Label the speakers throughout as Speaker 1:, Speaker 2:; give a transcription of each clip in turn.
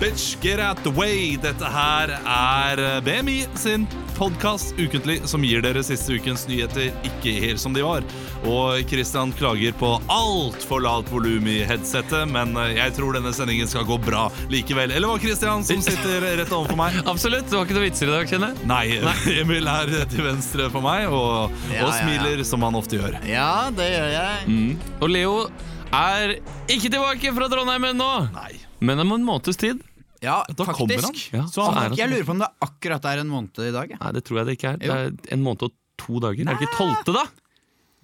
Speaker 1: bitch, get out the way! Dette her er eh, BMI sin podkast ukentlig som gir dere siste ukens nyheter ikke helt som de var. Og Christian klager på altfor lavt volum i headsetet, men eh, jeg tror denne sendingen skal gå bra likevel. Eller hva, Christian, som sitter rett overfor meg?
Speaker 2: Absolutt. Det var ikke noen vitser i dag, kjenner jeg.
Speaker 1: Nei, Emil er til venstre for meg og,
Speaker 3: Ja,
Speaker 1: og
Speaker 3: ja, ja.
Speaker 1: smiler som han ofte gjør.
Speaker 3: Ja, det gjør jeg.
Speaker 2: Og Leo er ikke tilbake fra Trondheim ennå,
Speaker 1: Nei.
Speaker 2: men om en måneds tid.
Speaker 3: Ja,
Speaker 1: Da kommer han.
Speaker 3: faktisk.
Speaker 2: Ja,
Speaker 3: Så
Speaker 2: så er
Speaker 3: han,
Speaker 2: det
Speaker 3: jeg
Speaker 2: sånn.
Speaker 3: lurer på om det akkurat er en måned i dag. jeg.
Speaker 2: Nei, det tror jeg det ikke er. Det
Speaker 3: Jo.
Speaker 2: er en måned og to dager. Er det ikke tolvte, da?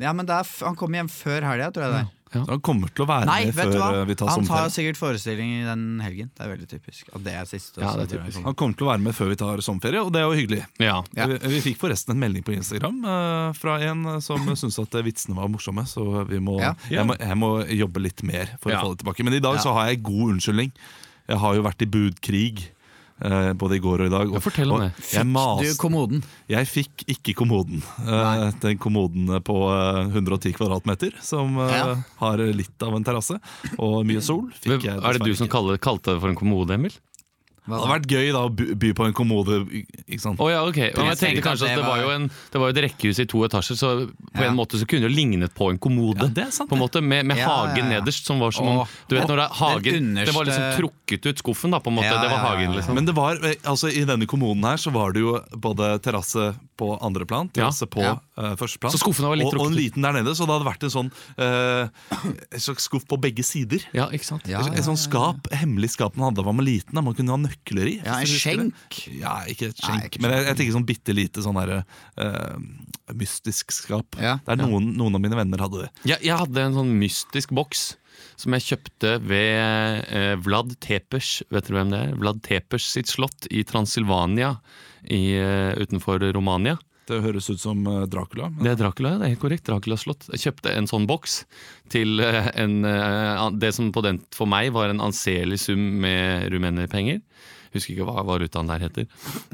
Speaker 3: Ja, men det er, f- Han kommer hjem før helga, tror jeg det er.
Speaker 1: Så Han kommer til å være
Speaker 3: Nei,
Speaker 1: med
Speaker 3: vet
Speaker 1: før
Speaker 3: du hva?
Speaker 1: eh, vi tar
Speaker 3: Han tar
Speaker 1: sommerferie.
Speaker 3: sikkert forestilling i den helgen. Det er veldig typisk. At det er siste.
Speaker 2: Ja,
Speaker 3: også,
Speaker 2: det er
Speaker 3: tror jeg.
Speaker 1: Han kommer til å være med før vi tar sommerferie, og det er jo hyggelig.
Speaker 2: Ja.
Speaker 3: Ja.
Speaker 1: Vi, vi fikk forresten en melding på Instagram eh, fra en som syntes at vitsene var morsomme, så vi må,
Speaker 3: Ja.
Speaker 1: jeg, må, jeg må jobbe litt mer for
Speaker 2: Ja.
Speaker 1: å få det tilbake. Men i dag
Speaker 3: Ja.
Speaker 1: så har jeg god unnskyldning. Jeg har jo vært i budkrig. eh, både i går og i dag. Og,
Speaker 2: fortell om
Speaker 1: og
Speaker 2: det.
Speaker 1: Jeg,
Speaker 3: Du,
Speaker 1: maste,
Speaker 3: kommoden.
Speaker 1: jeg fikk ikke kommoden. Eh, den kommoden på eh, 110 kvadratmeter, som eh,
Speaker 3: Ja.
Speaker 1: har litt av en terrasse og mye sol.
Speaker 2: Hvem-
Speaker 1: Fikk jeg
Speaker 2: Er det du
Speaker 1: dessverre
Speaker 2: som
Speaker 1: ikke.
Speaker 2: kaller, kalte det for en kommode, Emil?
Speaker 1: Det hadde vært gøy da å by by på en kommode. Ikke sant?
Speaker 2: Å ja, ok. Men jeg tenkte
Speaker 3: tenkte at
Speaker 2: kanskje at
Speaker 3: det
Speaker 2: det var
Speaker 3: var-
Speaker 2: jo, en, det var jo et rekkehus i to etasjer, så på
Speaker 3: Ja.
Speaker 2: en måte så kunne det jo lignet på en kommode.
Speaker 1: Ja, det er sant,
Speaker 2: på en måte, Med, med
Speaker 3: Ja, ja,
Speaker 2: hagen
Speaker 3: ja.
Speaker 2: nederst, som var som om
Speaker 3: Åh.
Speaker 2: Du vet når det er hagen
Speaker 3: Den
Speaker 2: Det var liksom
Speaker 3: underste-
Speaker 2: trukket ut skuffen, da, på en måte.
Speaker 3: Ja,
Speaker 2: det var
Speaker 3: ja, ja,
Speaker 2: hagen,
Speaker 3: ja.
Speaker 2: liksom.
Speaker 1: Men det var, altså i denne kommunen her så var det jo både terrasse på andre plan, terrasse på
Speaker 3: Ja.
Speaker 1: eh, første plan.
Speaker 2: Så skuffene var litt
Speaker 1: og, og en
Speaker 2: trukket.
Speaker 1: liten der nede, så det hadde vært en sånn eh, en slags skuff på begge sider.
Speaker 2: Ja, ikke sant?
Speaker 3: Ja,
Speaker 1: En sånn skap, hemmelig skap man hadde da man var liten, da man kunne ha nøkler i.
Speaker 3: Ja, en
Speaker 1: hvis dere husker det.
Speaker 3: skjenk.
Speaker 1: Ja, ikke et
Speaker 3: Nei,
Speaker 1: skjenk,
Speaker 3: ikke
Speaker 1: men jeg, jeg tenker sånn bitte lite sånn derre eh, mystisk skap.
Speaker 3: Ja,
Speaker 1: Der noen, noen av mine venner hadde det.
Speaker 2: Jeg, jeg hadde en sånn mystisk boks som jeg kjøpte ved eh, Vlad Tepers Vet dere hvem det er? Vlad Tepers sitt slott i Transilvania i, eh, utenfor Romania.
Speaker 1: Det høres ut som eh, Dracula. Men
Speaker 2: Det er Dracula, ja, det er helt korrekt. Draculas slott. Jeg kjøpte en sånn boks til eh, en, eh, an- det som på den for meg var en anselig sum med rumenerpenger. Husker ikke hva valutaen der heter.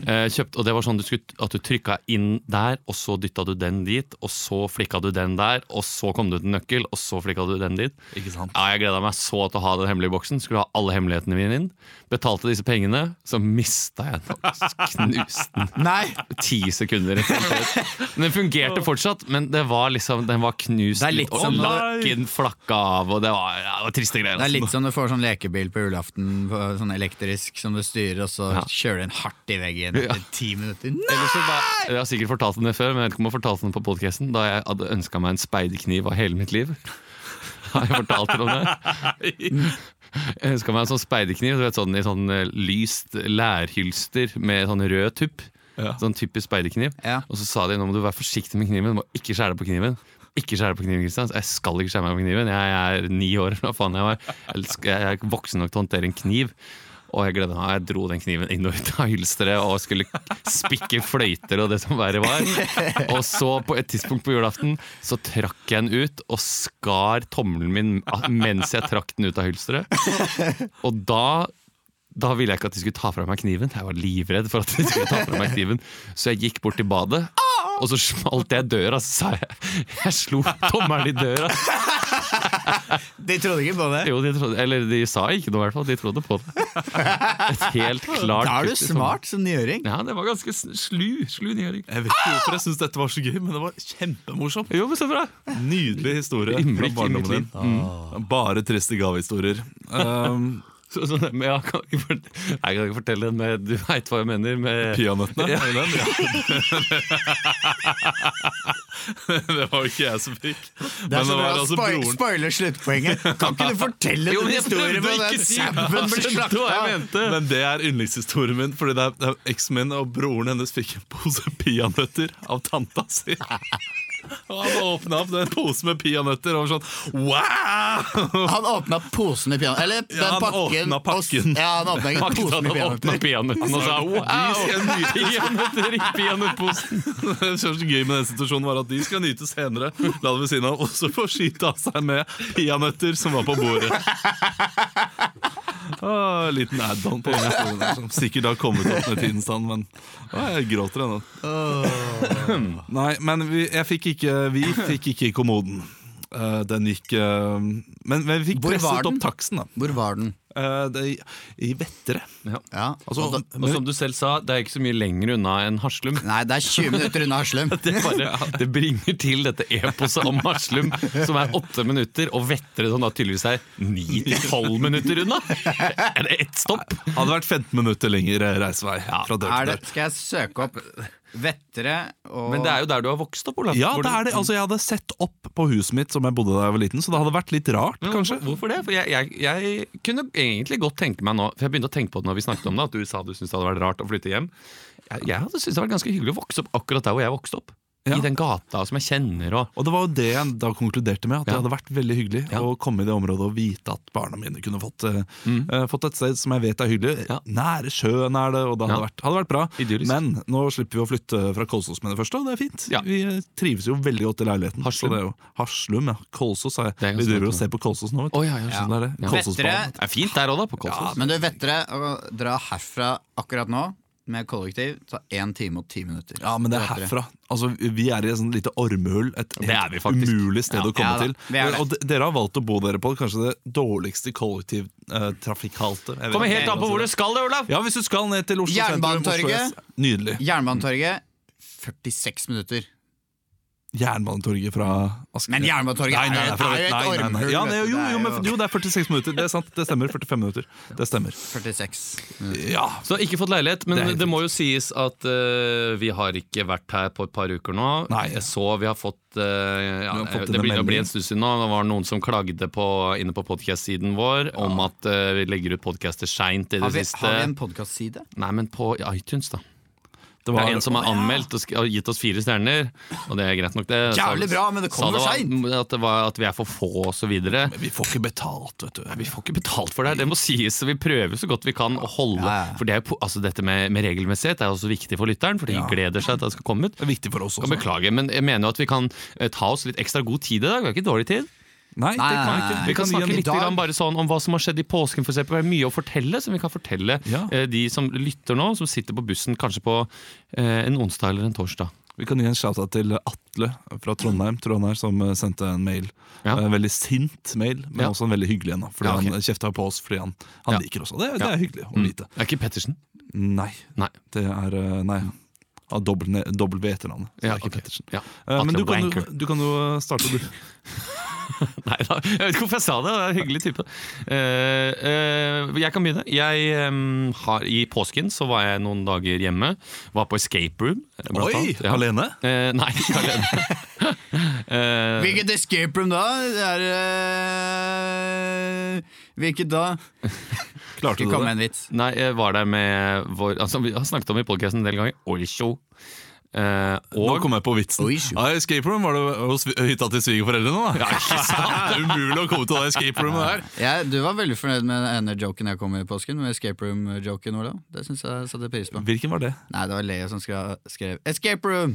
Speaker 2: Eh, kjøpt, og det var sånn du skulle, at du trykka inn der, og så dytta du den dit, og så flikka du den der, og så kom det ut en nøkkel, og så flikka du den dit.
Speaker 1: ikke sant?
Speaker 2: Ja, jeg gleda meg så til å ha den hemmelige boksen. Skulle ha alle hemmelighetene mine inn. Betalte disse pengene, så mista jeg den. Knuste den
Speaker 3: Nei!
Speaker 2: ti sekunder. rett og slett. Men den fungerte fortsatt, men det var liksom, den var knust.
Speaker 3: Det er litt
Speaker 2: og
Speaker 3: som-
Speaker 2: lakken flakka av, og det var, ja, det var triste greier.
Speaker 3: Det er
Speaker 2: altså.
Speaker 3: litt som du får sånn lekebil på julaften, på- sånn elektrisk som du styrer, og så
Speaker 2: Ja.
Speaker 3: kjører den hardt i veggen
Speaker 2: Ja.
Speaker 3: etter ti minutter. Nei!
Speaker 2: Ellers så da- Jeg har sikkert fortalt den det før, men jeg vet ikke om jeg har fortalt den på podcasten Da jeg hadde ønska meg en speiderkniv av hele mitt liv. Har jeg fortalt dere om det? Jeg ønska meg en sånn speiderkniv du vet, sånn, i sånn eh, lyst lærhylster med sånn rød tupp.
Speaker 1: Ja.
Speaker 2: Sånn typisk speiderkniv.
Speaker 3: Ja.
Speaker 2: Og så sa de nå må du være forsiktig med kniven, du må ikke skjære deg på kniven. Ikke skjære deg på kniven, Kristian. Så Jeg skal ikke skjære meg på kniven. Jeg er ni år, hva faen jeg var. Jeg elsker- Jeg er voksen nok til å håndtere en kniv. Og jeg gledet meg. Jeg dro den kniven inn og ut av hylsteret og skulle spikke fløyter og det som verre var. Og så, på et tidspunkt på julaften, så trakk jeg den ut og skar tommelen min mens jeg trakk den ut av hylsteret. Og da da ville jeg ikke at de skulle ta fra meg kniven. Jeg var livredd for at de skulle ta fra meg kniven Så jeg gikk bort til badet, og så smalt jeg døra. Så sa jeg Jeg slo tommelen i døra.
Speaker 3: De trodde ikke på det.
Speaker 2: Jo, de trodde, eller de sa ikke noe, i hvert fall. De trodde på det. Et helt klart
Speaker 3: Da
Speaker 2: kutt liksom.
Speaker 3: er du
Speaker 2: i
Speaker 3: smart som niåring.
Speaker 2: tommelen. Ja, det var ganske s- slu. Slu nyhøring.
Speaker 1: Jeg vet ikke hvorfor jeg syns dette var så gøy, men det var kjempemorsomt.
Speaker 2: Jo, men så bra.
Speaker 1: Nydelig historie fra
Speaker 2: Innblikk i mitt
Speaker 1: barndommen din.
Speaker 2: liv.
Speaker 1: Mm. Bare triste gavehistorier. Um,
Speaker 2: Så, så, men jeg kan ikke fortelle, jeg kan ikke fortelle den med Du veit hva jeg mener med
Speaker 1: Peanøttene. er det den? Ja. det var jo ikke jeg som fikk.
Speaker 3: Det er
Speaker 1: Men
Speaker 3: så
Speaker 1: det
Speaker 3: bra
Speaker 1: var
Speaker 3: å
Speaker 1: altså
Speaker 3: spoil,
Speaker 1: broren.
Speaker 3: spoiler sluttpoenget. Kan ikke du fortelle
Speaker 2: Jo,
Speaker 3: den
Speaker 2: men jeg prøvde
Speaker 3: historien om
Speaker 2: å
Speaker 3: den
Speaker 2: ikke si-
Speaker 3: sauen ble
Speaker 2: Skjønte du hva jeg
Speaker 3: slakta?
Speaker 2: mente?
Speaker 1: Men det er yndlingshistorien min, fordi det er, det er eksen min og broren hennes fikk en pose peanøtter av tanta si. Og han åpna opp den posen med peanøtter og var sånn wow!
Speaker 3: Han åpna posen i pianoet. Eller den
Speaker 1: han
Speaker 3: pakken.
Speaker 1: åpna
Speaker 3: og s-
Speaker 1: pakken.
Speaker 3: Ja, han åpna ikke
Speaker 2: Pakket han
Speaker 3: posen i
Speaker 2: og åpna
Speaker 3: pianoet.
Speaker 2: peanøtten og sa wow! Peanøtter i peanøttposen.
Speaker 1: Det som var så gøy med den situasjonen var at de skal nyte senere, la det ved siden av, og så får skyte av seg med peanøtter som var på bordet. Ah, liten add-on på den historien der, som sikkert har kommet opp med tidens tann, men ah, jeg gråter ennå. Nei, men vi, jeg fikk ikke, vi fikk ikke kommoden. Eh, den gikk eh, Men, men vi fikk
Speaker 3: Hvor var
Speaker 1: presset
Speaker 3: den?
Speaker 1: opp taksten, da.
Speaker 3: Hvor var den?
Speaker 1: eh, det, i Vettre.
Speaker 2: Ja.
Speaker 3: Ja.
Speaker 2: Altså,
Speaker 3: Og da-
Speaker 2: og som du selv sa, det er ikke så mye lenger unna enn Haslum.
Speaker 3: Nei, det er 20 minutter unna Haslum.
Speaker 2: Det, bare, det bringer til dette eposet om Haslum, som er åtte minutter, og Vettre, som da tydeligvis er ni til tolv minutter unna! Er det ett stopp?
Speaker 1: Hadde vært 15 minutter lengre reisevei fra
Speaker 3: Er det,
Speaker 1: Dødsberg.
Speaker 3: skal jeg søke opp Vettre og
Speaker 2: Men det er jo der du har vokst opp, Olav.
Speaker 1: Ja,
Speaker 2: Hvor
Speaker 1: det
Speaker 2: du-
Speaker 1: er det. Altså, jeg hadde sett opp på huset mitt som jeg bodde da jeg var liten, så det hadde vært litt rart,
Speaker 2: Men
Speaker 1: kanskje.
Speaker 2: hvorfor- Hvorfor det? For jeg, jeg, jeg kunne egentlig godt tenke meg nå For jeg begynte å tenke på det når vi snakket om det, at du sa du syntes det hadde vært rart å flytte hjem. Jeg, jeg hadde syntes det hadde vært ganske hyggelig å vokse opp akkurat der hvor jeg vokste opp.
Speaker 1: Ja.
Speaker 2: I den gata som jeg kjenner og
Speaker 1: Og det var jo det jeg da konkluderte med, at det
Speaker 2: Ja.
Speaker 1: hadde vært veldig hyggelig
Speaker 2: Ja.
Speaker 1: å komme i det området og vite at barna mine kunne fått, eh, eh, fått et sted som jeg vet er hyggelig.
Speaker 2: Mm. Ja.
Speaker 1: Nære sjøen er det, og det hadde,
Speaker 2: Ja.
Speaker 1: vært, hadde vært bra.
Speaker 2: Idyllisk.
Speaker 1: Men nå slipper vi å flytte fra Kolsås med det første, og det er fint.
Speaker 2: Ja.
Speaker 1: Vi eh, trives jo veldig godt i leiligheten. så
Speaker 2: Haslum.
Speaker 1: det er jo- Haslum, ja. Kolsås, sa jeg.
Speaker 2: Det er
Speaker 1: Vi
Speaker 2: ganske
Speaker 1: driver og
Speaker 2: sant,
Speaker 1: ser på Kolsås nå, vet
Speaker 2: Å, ja, ja,
Speaker 1: Så det er det.
Speaker 2: Ja.
Speaker 1: Kolsåsbanen.
Speaker 2: Det er fint der òg, da, på Kolsås.
Speaker 3: Men du, Vettre, å dra herfra akkurat nå med kollektiv tar 1 time og 10 minutter.
Speaker 1: Ja, men det er
Speaker 3: Vettre.
Speaker 1: herfra. Altså, Vi er i et sånt lite ormehull. Et
Speaker 2: Det er vi
Speaker 1: helt
Speaker 2: faktisk.
Speaker 1: umulig sted
Speaker 2: Ja,
Speaker 1: å komme
Speaker 3: ja da, vi er
Speaker 1: til.
Speaker 3: det.
Speaker 1: Og de- dere har valgt å bo dere på kanskje det dårligste eh, kollektivtrafikhalte. Uh,
Speaker 2: Kommer helt an på hvor du skal, det, Olav!
Speaker 1: Ja, hvis du skal ned til Oslo
Speaker 3: Jernbanetorget.
Speaker 1: sentrum, Oslo S. Nydelig.
Speaker 3: Jernbanetorget 46 minutter.
Speaker 1: Jernbanetorget fra Asker.
Speaker 3: Men Jernbanetorget
Speaker 1: Nei, nei,
Speaker 3: er jo-
Speaker 1: nei, for-
Speaker 3: er jo et
Speaker 1: nei, nei, nei.
Speaker 3: ormhull,
Speaker 1: Ja, nei,
Speaker 3: vet du,
Speaker 1: jo,
Speaker 3: det er
Speaker 1: jo, men,
Speaker 3: jo-
Speaker 1: jo, det er 46 minutter. Det er sant. Det stemmer. 45 minutter. Det stemmer.
Speaker 3: 46 minutter.
Speaker 1: Ja,
Speaker 2: Så ikke fått leilighet, men
Speaker 1: Det er
Speaker 2: det,
Speaker 1: helt
Speaker 2: må jo sies at eh, vi har ikke vært her på et par uker nå.
Speaker 1: Nei.
Speaker 2: Jeg Så vi har fått, eh, ja,
Speaker 1: Du har fått
Speaker 2: Det
Speaker 1: denne
Speaker 2: begynner å bli
Speaker 1: meldingen.
Speaker 2: en stund siden nå. Det var noen som klagde på, inne på podcast-siden vår om at eh, vi legger ut podcaster seint i det
Speaker 3: Har vi,
Speaker 2: siste.
Speaker 3: har vi en podkastside?
Speaker 2: Nei, men på iTunes, da.
Speaker 1: det
Speaker 2: Det
Speaker 1: var
Speaker 2: er en som har anmeldt og sk- og gitt oss fire stjerner, og det er greit nok, det.
Speaker 3: Jævlig
Speaker 2: Sa-
Speaker 3: bra, men det
Speaker 2: sa
Speaker 3: kommer
Speaker 2: var-
Speaker 3: sent.
Speaker 2: At, det var- at vi er for få, og så videre.
Speaker 1: Vi får ikke betalt, vet du.
Speaker 2: Vi får ikke betalt for det, her, det må sies. så Vi prøver så godt vi kan å holde
Speaker 3: Ja, ja.
Speaker 2: For det er jo, po- altså Dette med, med regelmessighet er også viktig for lytteren, for de gleder seg til at det skal komme ut.
Speaker 1: Det er viktig for oss
Speaker 2: Jeg
Speaker 1: også.
Speaker 2: Beklager, men jeg mener jo at vi kan eh, ta oss litt ekstra god tid i dag. Vi har ikke dårlig tid.
Speaker 1: Nei, det
Speaker 3: Nei,
Speaker 1: kan vi
Speaker 3: nei,
Speaker 1: ikke.
Speaker 3: nei.
Speaker 2: Vi kan
Speaker 1: gi en-
Speaker 2: snakke litt
Speaker 3: dag.
Speaker 2: grann bare sånn om hva som har skjedd i påsken. For eksempel. Det er mye å fortelle som vi kan fortelle
Speaker 1: Ja.
Speaker 2: eh, de som lytter nå, som sitter på bussen kanskje på eh, en onsdag eller en torsdag.
Speaker 1: Vi kan gi en shout-out til Atle fra Trondheim, tror han er, som eh, sendte en mail. eh,
Speaker 2: Ja.
Speaker 1: En veldig sint mail, men
Speaker 2: Ja.
Speaker 1: også en veldig hyggelig en. da, Fordi
Speaker 2: Ja, ok.
Speaker 1: Han kjefta på oss fordi han, han
Speaker 2: Ja.
Speaker 1: liker oss. og Det, det
Speaker 2: Ja.
Speaker 1: er hyggelig å vite.
Speaker 2: Det er ikke Pettersen.
Speaker 1: Nei,
Speaker 2: Nei.
Speaker 1: det er eh, Nei. Av dobbel, ne- dobbel ved etternavnet. så det er ikke
Speaker 2: ok.
Speaker 1: Pettersen.
Speaker 2: Ja.
Speaker 1: Eh, men
Speaker 2: Atle
Speaker 1: du kan, jo-
Speaker 2: Wanker.
Speaker 1: du kan jo eh, starte, du.
Speaker 2: Nei da, jeg vet ikke hvorfor jeg sa det. Det er en hyggelig type. Eh, eh, jeg kan begynne. Jeg, eh, har, I påsken så var jeg noen dager hjemme. Var på escape room. eh, blant
Speaker 1: Oi!
Speaker 2: annet. Ja.
Speaker 1: Alene?
Speaker 2: Eh, nei, ikke alene. Eh,
Speaker 3: Hvilket escape room da? Det er øh, Hvilket da?
Speaker 1: Klarte
Speaker 3: Ikke
Speaker 1: du
Speaker 3: kom
Speaker 1: det?
Speaker 3: med en vits.
Speaker 2: nei, jeg var der med vår altså, Vi har snakket om i podkasten en del ganger. Oisho. Eh,
Speaker 1: Nå
Speaker 2: og
Speaker 1: kom jeg på vitsen.
Speaker 3: Oi, sju.
Speaker 1: Ja, escape room var det hos hytta til svigerforeldrene, da. det er umulig å komme til det escape roomet der.
Speaker 3: Jeg, du var veldig fornøyd med den ene joken jeg kom med i påsken. Med escape room-joken, Olav. Det syns jeg satte pris på.
Speaker 1: Hvilken var det?
Speaker 3: Nei, det var Leo som skrev, skrev 'escape room'.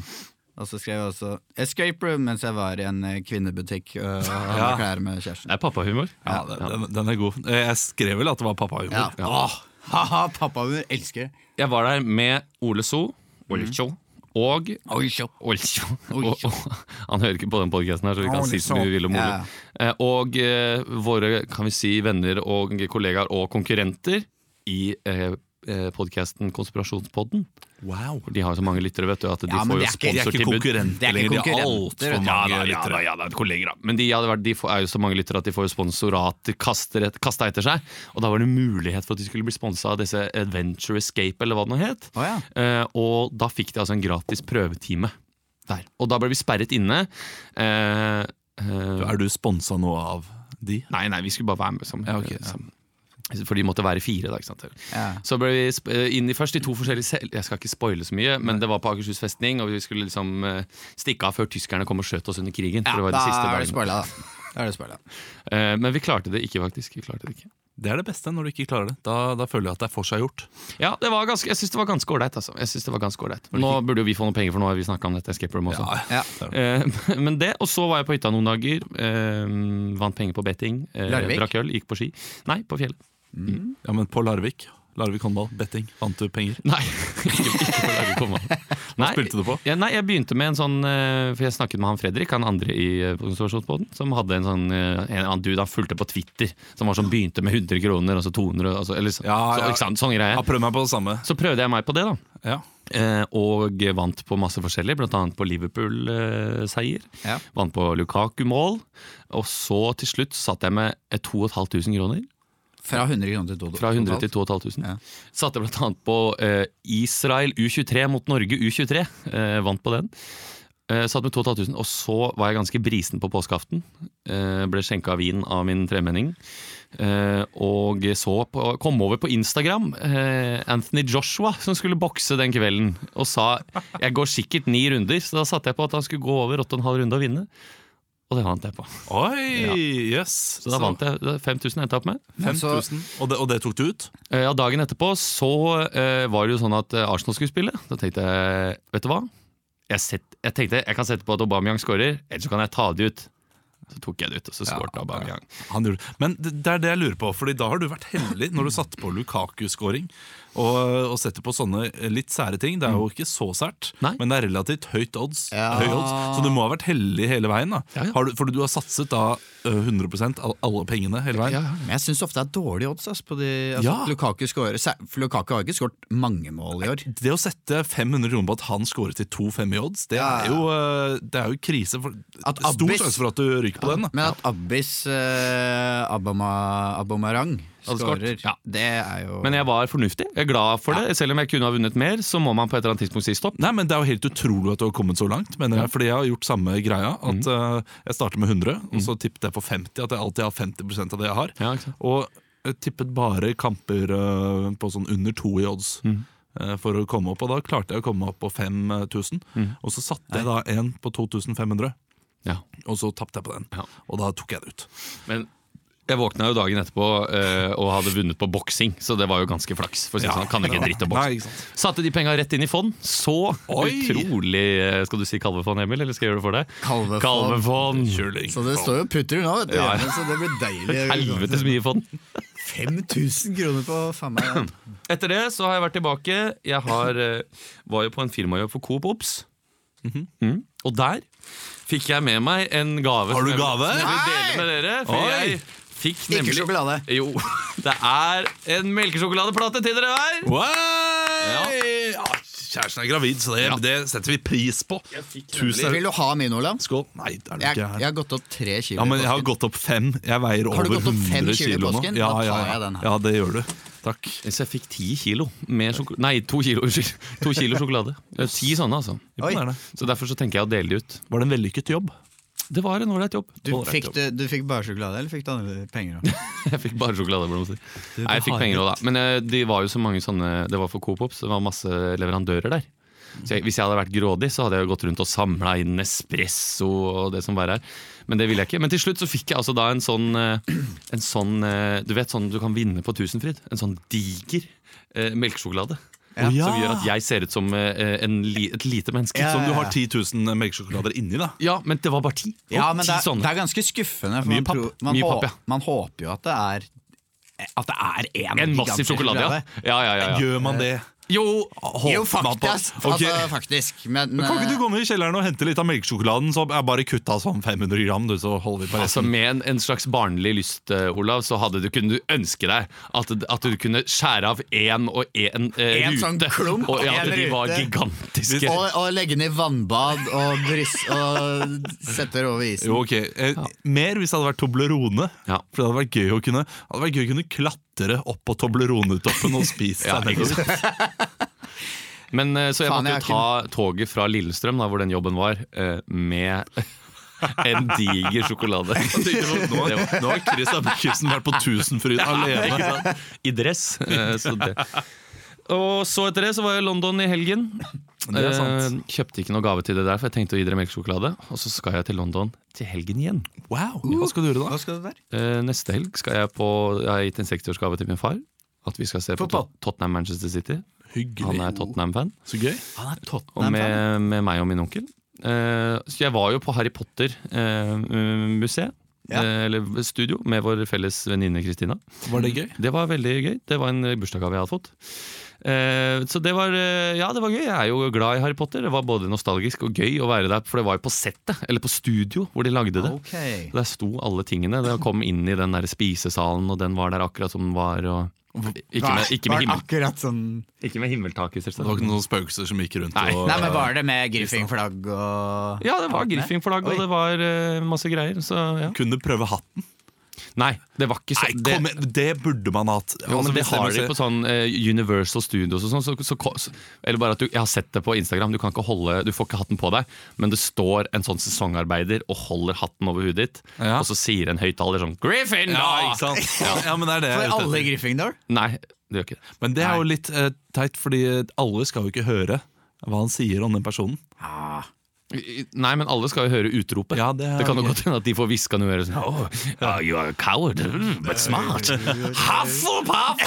Speaker 3: Og så skrev jeg også 'escape room' mens jeg var i en eh, kvinnebutikk øh, og hadde
Speaker 1: Ja.
Speaker 3: klær med kjæresten.
Speaker 2: det er pappahumor.
Speaker 1: Ja, den, den er god. Eh, Jeg skrev vel at det var pappahumor.
Speaker 3: Ja. Åh, Haha, pappahunder elsker det.
Speaker 2: Jeg var der med Ole So.
Speaker 1: Mm.
Speaker 2: Oisho. Og
Speaker 3: Oi, kjopp.
Speaker 2: Olsjo.
Speaker 3: Oi.
Speaker 2: Og- og- Han hører ikke på den podcasten her, så vi kan si så mye vi vil om Ole.
Speaker 3: Ja.
Speaker 2: Eh, Og eh, våre kan vi si, venner og kollegaer og konkurrenter i eh, eh, podcasten Konspirasjonspodden.
Speaker 1: Wow.
Speaker 2: De har jo så mange lyttere, vet du, at de
Speaker 3: Ja,
Speaker 2: får
Speaker 3: men
Speaker 2: jo
Speaker 3: det er ikke- de
Speaker 1: De er ikke
Speaker 2: sponsortilbud.
Speaker 1: konkurrenter
Speaker 3: Det er ikke
Speaker 1: lenger. De er
Speaker 3: konkurrenter,
Speaker 1: altfor
Speaker 3: vet du.
Speaker 2: Ja,
Speaker 1: mange
Speaker 2: da, ja, da,
Speaker 1: lyttere.
Speaker 2: ja, da, det er kolleger, da. Men de, hadde vært, de får, er jo så mange lyttere at de får jo sponsorat kaster et, kasta etter seg. Og da var det mulighet for at de skulle bli sponsa av disse Adventure Escape, eller hva det nå het.
Speaker 3: Å, ja.
Speaker 2: Eh, og da fikk de altså en gratis prøvetime der. Og da ble vi sperret inne. Eh, eh,
Speaker 1: Er du sponsa noe av de?
Speaker 2: Nei, nei, vi skulle bare være med sammen. Eh,
Speaker 1: Ja, ok, ja.
Speaker 2: sammen. For de måtte være fire. da, ikke sant?
Speaker 3: Ja.
Speaker 2: Så ble vi sp- eh, inn i først i to forskjellige sel Jeg skal ikke spoile så mye, men det var på Akershus festning, og vi skulle liksom eh, stikke av før tyskerne kom og skjøt oss under krigen.
Speaker 3: Ja,
Speaker 2: for det var
Speaker 3: da
Speaker 2: de siste
Speaker 3: er det
Speaker 2: dagene.
Speaker 3: spoila, da. Da er det spoila.
Speaker 2: Eh, Men vi klarte det ikke, faktisk. Vi klarte det ikke.
Speaker 1: Det er det beste når du ikke klarer det. Da, da føler jeg at det er forseggjort.
Speaker 2: Ja, det var ganske, Jeg syns det var ganske ålreit. Altså. Jeg synes det var ganske ålreit. Nå burde jo vi få noen penger, for nå har vi snakka om dette escape room også.
Speaker 3: Ja.
Speaker 2: Eh, Men det, og så var jeg på hytta noen dager. eh, Vant penger på betting. eh,
Speaker 3: Larvik?
Speaker 2: Drakk øl, gikk på ski. Nei, på fjellet.
Speaker 1: Ja, men på Larvik Larvik håndball, betting. Vant du penger?
Speaker 2: Nei, ikke, ikke på Larvik håndball. Nei,
Speaker 1: spilte du på?
Speaker 2: Ja, nei, jeg begynte med en sånn eh, For jeg snakket med han Fredrik, han andre i eh, konsultasjonsbåten, som hadde en sånn eh, En annen dude han fulgte på Twitter, som var sånn begynte med 100 kroner, og så 200, og så, eller, så-
Speaker 1: Ja, ja.
Speaker 2: Så, ikke sant, sånn greie.
Speaker 1: Jeg prøvd meg på det samme.
Speaker 2: Så prøvde jeg meg på det, da.
Speaker 1: Ja.
Speaker 2: Eh, og vant på masse forskjellig, bl.a. på Liverpool-seier.
Speaker 3: Ja.
Speaker 2: Vant på Lukaku-mål. Og så til slutt satt jeg med eh, 2500 kroner.
Speaker 3: Fra 100 kroner til 200.
Speaker 2: Fra 100 til 2500.
Speaker 3: Ja.
Speaker 2: Satte bl.a. på eh, Israel U23 mot Norge U23. Eh, vant på den. Eh, satt med 2500. Og så var jeg ganske brisen på påskeaften. Eh, ble skjenka vin av min tremenning. Eh, og så på, kom over på Instagram eh, Anthony Joshua som skulle bokse den kvelden. Og sa jeg går sikkert ni runder, så da satte jeg på at han skulle gå over åtte og en halv runde og vinne. Og det vant jeg på.
Speaker 1: Oi, jøss.
Speaker 2: Så da vant jeg det er 5000 endte jeg opp med.
Speaker 1: 5000. Og, det- og det tok du ut?
Speaker 2: Eh, Ja, Dagen etterpå så eh, var det jo sånn at eh, Arsenal skulle spille. Da tenkte jeg Vet du hva? Jeg, sett, jeg tenkte jeg kan sette på at Aubameyang scorer, eller så kan jeg ta det ut. Så tok jeg det ut, og så skåret Aubameyang.
Speaker 1: Han gjorde. Men det det er det jeg lurer på, Fordi da har du vært heldig når du satte på Lukaku-scoring. Og, og setter på sånne litt sære ting. Det er jo ikke så sært,
Speaker 2: Mm. Nei.
Speaker 1: men det er relativt høyt odds.
Speaker 3: Ja.
Speaker 1: Høy odds. Så du må ha vært heldig hele veien. da
Speaker 2: Ja, ja.
Speaker 1: Har du, For du har satset da ø, 100 av alle pengene hele veien.
Speaker 3: Men jeg syns ofte det er dårlige odds. ass, på de, altså,
Speaker 1: Ja.
Speaker 3: Lukaku, scorer, sær- for Lukaku har ikke skåret mange mål i år.
Speaker 1: Det å sette 500 kroner på at han scoret til 2-5 i odds, det
Speaker 3: Ja, ja.
Speaker 1: er jo, ø, det er jo krise. For,
Speaker 3: At
Speaker 1: stor
Speaker 3: Abbes-
Speaker 1: sjanse for at du ryker på den. da
Speaker 3: Men at Abbis eh, Abama, Abomarang
Speaker 2: Hadde
Speaker 3: skårer,
Speaker 2: skåret, ja.
Speaker 3: det er jo
Speaker 2: Men jeg var fornuftig. Jeg er glad for det. Selv om jeg kunne ha vunnet mer, så må man på et eller annet tidspunkt si stopp.
Speaker 1: Nei, men Det er jo helt utrolig at du har kommet så langt. Mener jeg, fordi jeg har gjort samme greia. At
Speaker 2: Mm.
Speaker 1: eh, Jeg startet med 100, og så tippet jeg på 50. At jeg alltid har 50 av det jeg har.
Speaker 2: Ja, ikke sant?
Speaker 1: Og jeg tippet bare kamper eh, på sånn under to i odds.
Speaker 2: Mm.
Speaker 1: eh, For å komme opp, og Da klarte jeg å komme opp på 5000.
Speaker 2: Mm.
Speaker 1: Og så satte jeg da en på 2500,
Speaker 2: Ja.
Speaker 1: og så tapte jeg på den.
Speaker 2: Ja.
Speaker 1: Og da tok jeg det ut.
Speaker 2: Men jeg våkna jo dagen etterpå eh, og hadde vunnet på boksing, så det var jo ganske flaks. For å si det sånn, kan ikke en dritt om
Speaker 1: Nei,
Speaker 2: boksing.
Speaker 1: ikke sant?
Speaker 2: Satte de penga rett inn i fond. Så
Speaker 1: Oi!
Speaker 2: utrolig eh, Skal du si kalvefond, Emil, eller skal jeg gjøre det for deg?
Speaker 3: Kalvefond.
Speaker 2: Kalvefond.
Speaker 1: Kjøling.
Speaker 3: Så det står jo putter nå, vet du.
Speaker 2: Ja.
Speaker 3: Så det blir deilig.
Speaker 2: Helvetes mye fond.
Speaker 3: 5000 kroner på faen meg. ja.
Speaker 2: Etter det så har jeg vært tilbake. Jeg har, eh, var jo på en firmajobb for Coop Ops. Mm. Og der fikk jeg med meg en gave.
Speaker 1: Har du
Speaker 2: som jeg-
Speaker 1: gave?
Speaker 2: Som jeg vil dele med dere. For
Speaker 1: Oi!
Speaker 2: jeg fikk
Speaker 3: Ikke
Speaker 2: nemlig
Speaker 3: sjokolade.
Speaker 2: Jo. Det er en melkesjokoladeplate til dere hver.
Speaker 1: Wow! Ja. kjæresten er gravid, så det, det setter vi pris på. Tusen
Speaker 3: Vil du ha min, Olav?
Speaker 1: Skål. Nei, det er det
Speaker 3: Jeg,
Speaker 1: ikke her.
Speaker 3: jeg har gått opp tre kilo.
Speaker 1: Ja, men
Speaker 3: i
Speaker 1: jeg har
Speaker 3: påsken.
Speaker 1: gått opp fem. Jeg veier
Speaker 3: Har du
Speaker 1: over
Speaker 3: gått opp fem
Speaker 1: 100
Speaker 3: kilo i
Speaker 1: kilo nå.
Speaker 3: påsken?
Speaker 1: Ja,
Speaker 3: Da tar
Speaker 1: ja,
Speaker 3: jeg
Speaker 1: ja.
Speaker 3: den her.
Speaker 1: ja, det gjør du. Takk.
Speaker 2: Så jeg fikk ti kilo med sjokolade. Nei, to kilo, unnskyld. To kilo sjokolade. Eh, Ti sånne, altså.
Speaker 3: Oi.
Speaker 1: Imponerende.
Speaker 2: Så derfor så tenker jeg å dele de ut.
Speaker 1: Var det en vellykket jobb?
Speaker 2: Det var en ålreit jobb.
Speaker 3: Du fikk, du, du fikk bare sjokolade, eller fikk du andre penger òg?
Speaker 2: Jeg fikk bare sjokoladeblomster. Nei, jeg fikk penger også da. Men eh, de var jo så mange sånne Det var for Coop Ops, det var masse leverandører der. Så jeg, hvis jeg hadde vært grådig, så hadde jeg jo gått rundt og samla inn espresso og det som verre er. Men det ville jeg ikke. Men til slutt så fikk jeg altså da en sånn, eh, en sånn eh, Du vet sånn du kan vinne på Tusenfryd? En sånn diger eh, melkesjokolade.
Speaker 1: Ja.
Speaker 2: Som gjør at jeg ser ut som eh, en, li- et lite menneske.
Speaker 3: Ja.
Speaker 2: Som
Speaker 1: Som du har 10 000 melkesjokolader inni, da.
Speaker 2: ja, men det var bare ti.
Speaker 3: Ja, men
Speaker 2: ti
Speaker 3: det er,
Speaker 2: sånne.
Speaker 3: det er ganske skuffende. For
Speaker 2: Mye
Speaker 3: man
Speaker 2: papp.
Speaker 3: tror- Man,
Speaker 2: Mye
Speaker 3: hå-
Speaker 2: papp, ja.
Speaker 3: man håper jo at det er At det er én
Speaker 2: en massiv sjokolade, ja. ja, ja, ja, ja.
Speaker 1: Gjør
Speaker 3: Eh,
Speaker 1: man det?
Speaker 2: Jo,
Speaker 1: Håper
Speaker 3: Jo,
Speaker 1: man
Speaker 3: faktisk.
Speaker 1: på-
Speaker 3: ass.
Speaker 1: Ok.
Speaker 3: Altså, faktisk. Men,
Speaker 1: Kan ikke du komme i kjelleren og hente litt av melkesjokoladen? Så jeg bare kutta sånn 500 gram, du, så holder vi på
Speaker 2: Altså
Speaker 1: resten.
Speaker 2: Med en, en slags barnlig lyst, eh, Olav, så hadde du, kunne du ønske deg at, at du kunne skjære av én og én eh,
Speaker 3: En
Speaker 2: rute.
Speaker 3: sånn klump
Speaker 2: og ja,
Speaker 3: og
Speaker 2: at
Speaker 3: en
Speaker 2: de var
Speaker 3: rute.
Speaker 2: gigantiske.
Speaker 3: og, og eh, legge den i vannbad og, brys, og sette det over isen.
Speaker 1: Jo, ok eh, Mer hvis det hadde vært Toblerone.
Speaker 2: Ja.
Speaker 1: For det hadde vært gøy å kunne det hadde vært gøy å kunne klatre opp på Toblerone-toppen og spise
Speaker 2: Ja,
Speaker 1: seg nedover.
Speaker 2: Men eh, Så jeg
Speaker 3: Faen,
Speaker 2: måtte
Speaker 3: jeg
Speaker 2: jo ta toget fra Lillestrøm, da, hvor den jobben var, eh, med en diger sjokolade.
Speaker 1: Nå har- nå har Chris Abbekisen vært på Tusenfryd alene.
Speaker 2: Ikke sant? I dress. eh, Så det. Og så etter det så var jeg i London i helgen.
Speaker 1: Det er sant.
Speaker 2: Eh, Kjøpte ikke noe gave til det der, for jeg tenkte å gi dere melkesjokolade. Og så skal jeg til London til helgen igjen.
Speaker 1: Wow, Hva skal du gjøre da?
Speaker 3: Hva skal du der?
Speaker 2: Eh, neste helg skal jeg på Jeg har gitt en 60-årsgave til min far. At vi skal se på
Speaker 3: Fotball.
Speaker 2: Tot- Tottenham Manchester City. Han
Speaker 1: Hyggelig.
Speaker 2: er Tottenham-fan.
Speaker 1: Så gøy.
Speaker 3: Han er
Speaker 2: Og
Speaker 3: Tottenham. fan.
Speaker 2: med, med meg og min onkel. Eh, så jeg var jo på Harry Potter-museet.
Speaker 3: Ja.
Speaker 2: eh, eller studio, med vår felles venninne Kristina.
Speaker 1: Var det gøy?
Speaker 2: Det var veldig gøy. Det var en eh, bursdagsgave jeg hadde fått. Eh, så det var eh, Ja, det var gøy. Jeg er jo glad i Harry Potter. Det var både nostalgisk og gøy å være der, for det var jo på settet, eller på studio, hvor de lagde det.
Speaker 3: Ok.
Speaker 2: Der sto alle tingene. Det kom inn i den der spisesalen, og den var der akkurat som den var. Og ikke, med, ikke, med
Speaker 3: Var det
Speaker 2: himmel,
Speaker 3: akkurat sånn
Speaker 2: ikke med himmeltaket,
Speaker 1: Det var
Speaker 2: selvsagt.
Speaker 1: ikke noen spøkelser som gikk rundt
Speaker 2: Nei.
Speaker 1: og
Speaker 3: Nei, men var det med Griffin-flagg og
Speaker 2: Ja, det var Griffin-flagg, og det var eh, masse greier. Så ja.
Speaker 1: kunne prøve hatten?
Speaker 2: Nei, det var ikke så
Speaker 1: Nei, kom igjen! Det burde man hatt.
Speaker 2: Jo,
Speaker 1: Altså,
Speaker 2: men det
Speaker 1: hvis
Speaker 2: har de
Speaker 1: museet-
Speaker 2: på sånn eh, Universal Studios og sånn. Så, så, så, eller bare at du, jeg har sett det på Instagram, du kan ikke holde Du får ikke hatten på deg, men det står en sånn sesongarbeider og holder hatten over hudet ditt,
Speaker 1: Ja.
Speaker 2: og så sier en høyttaler sånn Griffin!
Speaker 1: ja,
Speaker 2: da!»
Speaker 1: ikke sant? Ja, ja, men det er det jeg er ute
Speaker 3: For alle i
Speaker 1: etter.
Speaker 3: Gryffindor?
Speaker 2: Nei, det gjør ikke det.
Speaker 1: Men det er jo litt eh, teit, fordi alle skal jo ikke høre hva han sier om den personen.
Speaker 2: Nei, men alle skal jo høre utropet.
Speaker 1: Ja, det er
Speaker 2: kan jo
Speaker 1: gøy.
Speaker 2: godt hende at de får hviska noe i øret. sånn, «Oh, oh, you are a coward, mm, but smart. Hufflepuff!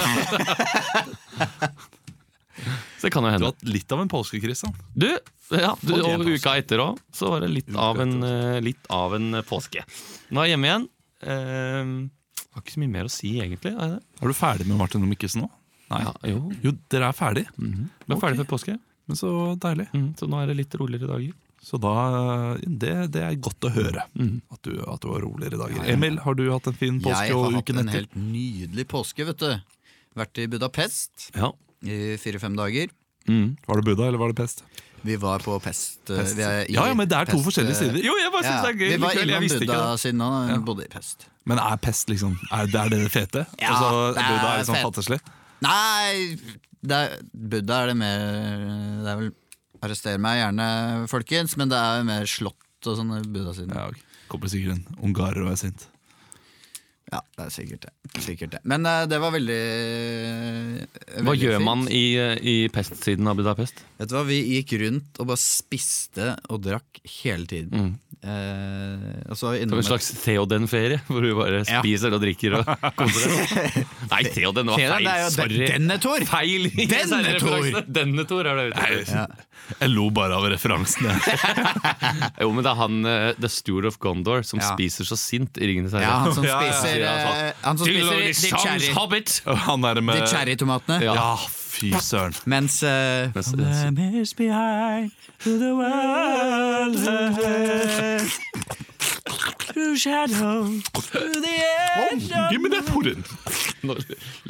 Speaker 2: Så det kan jo
Speaker 1: Du
Speaker 2: hende.
Speaker 1: har hatt litt av en påske, Christian.
Speaker 2: Du, ja, du
Speaker 1: Fortjent,
Speaker 2: og
Speaker 1: altså.
Speaker 2: uka etter òg, så var det litt av, en, eh, litt av en påske. Nå er jeg hjemme igjen. Eh, har ikke så mye mer å si, egentlig. Er det?
Speaker 1: Er du ferdig med Martin og Mikkelsen nå? Mm. Nei.
Speaker 2: Ja, jo,
Speaker 1: Jo, dere er ferdig.
Speaker 2: vi er
Speaker 1: Ok.
Speaker 2: ferdig med påske,
Speaker 1: Men så deilig.
Speaker 2: mm, så nå er det litt roligere dager.
Speaker 1: Så da eh, Det, det er godt å høre at, du, at du har roligere dager. Emil, har du hatt en fin påske
Speaker 3: Jeg har
Speaker 1: og
Speaker 3: hatt
Speaker 1: uken
Speaker 3: en
Speaker 1: etter?
Speaker 3: helt nydelig påske, vet du. Vært i Budapest
Speaker 2: Ja.
Speaker 3: i fire-fem dager.
Speaker 2: Mm.
Speaker 1: Var det Buddha, eller var det pest?
Speaker 3: Vi var på Pest. eh, Vi er i
Speaker 1: Ja, ja, men det er to
Speaker 3: Pest, eh,
Speaker 1: forskjellige sider.
Speaker 2: Jo, jeg bare syns
Speaker 3: Ja,
Speaker 2: det er gøy.
Speaker 3: vi var
Speaker 2: likevel, jeg
Speaker 3: innom
Speaker 2: visste ikke
Speaker 3: Buddha
Speaker 2: det.
Speaker 3: siden han bodde i Pest.
Speaker 1: Men er pest liksom Er det er det, det fete?
Speaker 3: Ja,
Speaker 1: altså,
Speaker 3: det er
Speaker 1: Buddha er sånn
Speaker 3: fett.
Speaker 1: fattigslig?
Speaker 3: Nei, det er, Buddha er det mer Det er vel Arrester meg gjerne, folkens, men det er jo mer slott og sånn sånne Buddha-siden. Ja.
Speaker 1: Ja, ok. Kommer sikkert en ungarer og er sint.
Speaker 3: det er sikkert det. Sikkert det. Men eh, det var veldig, eh,
Speaker 2: Hva
Speaker 3: veldig
Speaker 2: gjør
Speaker 3: fint.
Speaker 2: man i, i pestsiden av Budapest?
Speaker 3: Vet du hva, Vi gikk rundt og bare spiste og drakk hele tiden.
Speaker 2: Mm.
Speaker 3: Eh, og så var vi
Speaker 2: Som
Speaker 3: innom
Speaker 2: en slags Theoden-ferie, hvor du bare
Speaker 3: Ja.
Speaker 2: spiser og drikker og koser deg. Nei, Theoden var
Speaker 3: Theoden
Speaker 2: feil.
Speaker 3: er jo den-
Speaker 2: Sorry.
Speaker 3: Denne, Tor!
Speaker 2: Feil!
Speaker 3: Denne, Tor!
Speaker 2: Denne Tor er det ute etter.
Speaker 1: Jeg lo bare av referansen. jeg.
Speaker 2: Jo, men det er han, eh, The Steward of Gondor, som
Speaker 3: Ja.
Speaker 2: spiser så sint i Ringenes herre.
Speaker 3: Ja, han som
Speaker 1: Ja, ja, ja.
Speaker 3: spiser
Speaker 2: sånn,
Speaker 3: eh, Han som spiser
Speaker 2: Tilhører
Speaker 3: de
Speaker 2: Sans
Speaker 3: cherry-
Speaker 2: Hobbit!
Speaker 1: Og Han der
Speaker 3: de
Speaker 1: med
Speaker 3: cherrytomatene.
Speaker 2: Ja.
Speaker 1: Ja, fy søren.
Speaker 3: Mens eh,
Speaker 2: Mens- mens-
Speaker 1: Gi meg den poren!
Speaker 2: Nå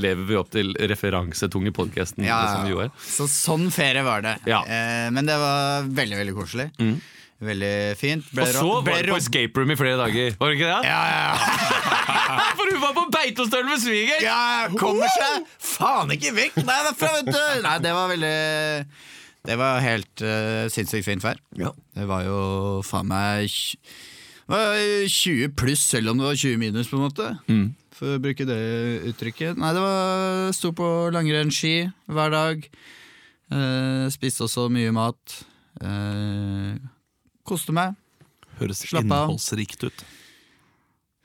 Speaker 2: lever vi opp til referansetunge podkasten.
Speaker 3: Ja,
Speaker 2: Som vi
Speaker 3: ja,
Speaker 2: gjorde.
Speaker 3: ja. Så sånn ferie var det.
Speaker 2: Ja. Mm.
Speaker 3: Eh, men det var veldig veldig koselig. Veldig fint. Ble
Speaker 2: Og så
Speaker 3: ro- ble
Speaker 2: var du på
Speaker 3: ro-
Speaker 2: escape room i flere dager. Var det ikke det?
Speaker 3: ja, ja,
Speaker 2: For hun var på Beitostølen med
Speaker 3: ja,
Speaker 2: sviger!
Speaker 3: ja, kommer seg faen ikke vekk Nei, derfra, vet du! Nei, det var veldig Det var helt eh, sinnssykt fint vær. Det var jo faen meg tj- det var 20 pluss, selv om det var 20 minus, på en måte.
Speaker 1: Mm.
Speaker 3: For å bruke det uttrykket. Nei, det var Sto på langrennsski hver dag. Eh, spiste også mye mat. Eh, koste meg.
Speaker 1: Høres
Speaker 3: Slapp av.
Speaker 1: innholdsrikt ut.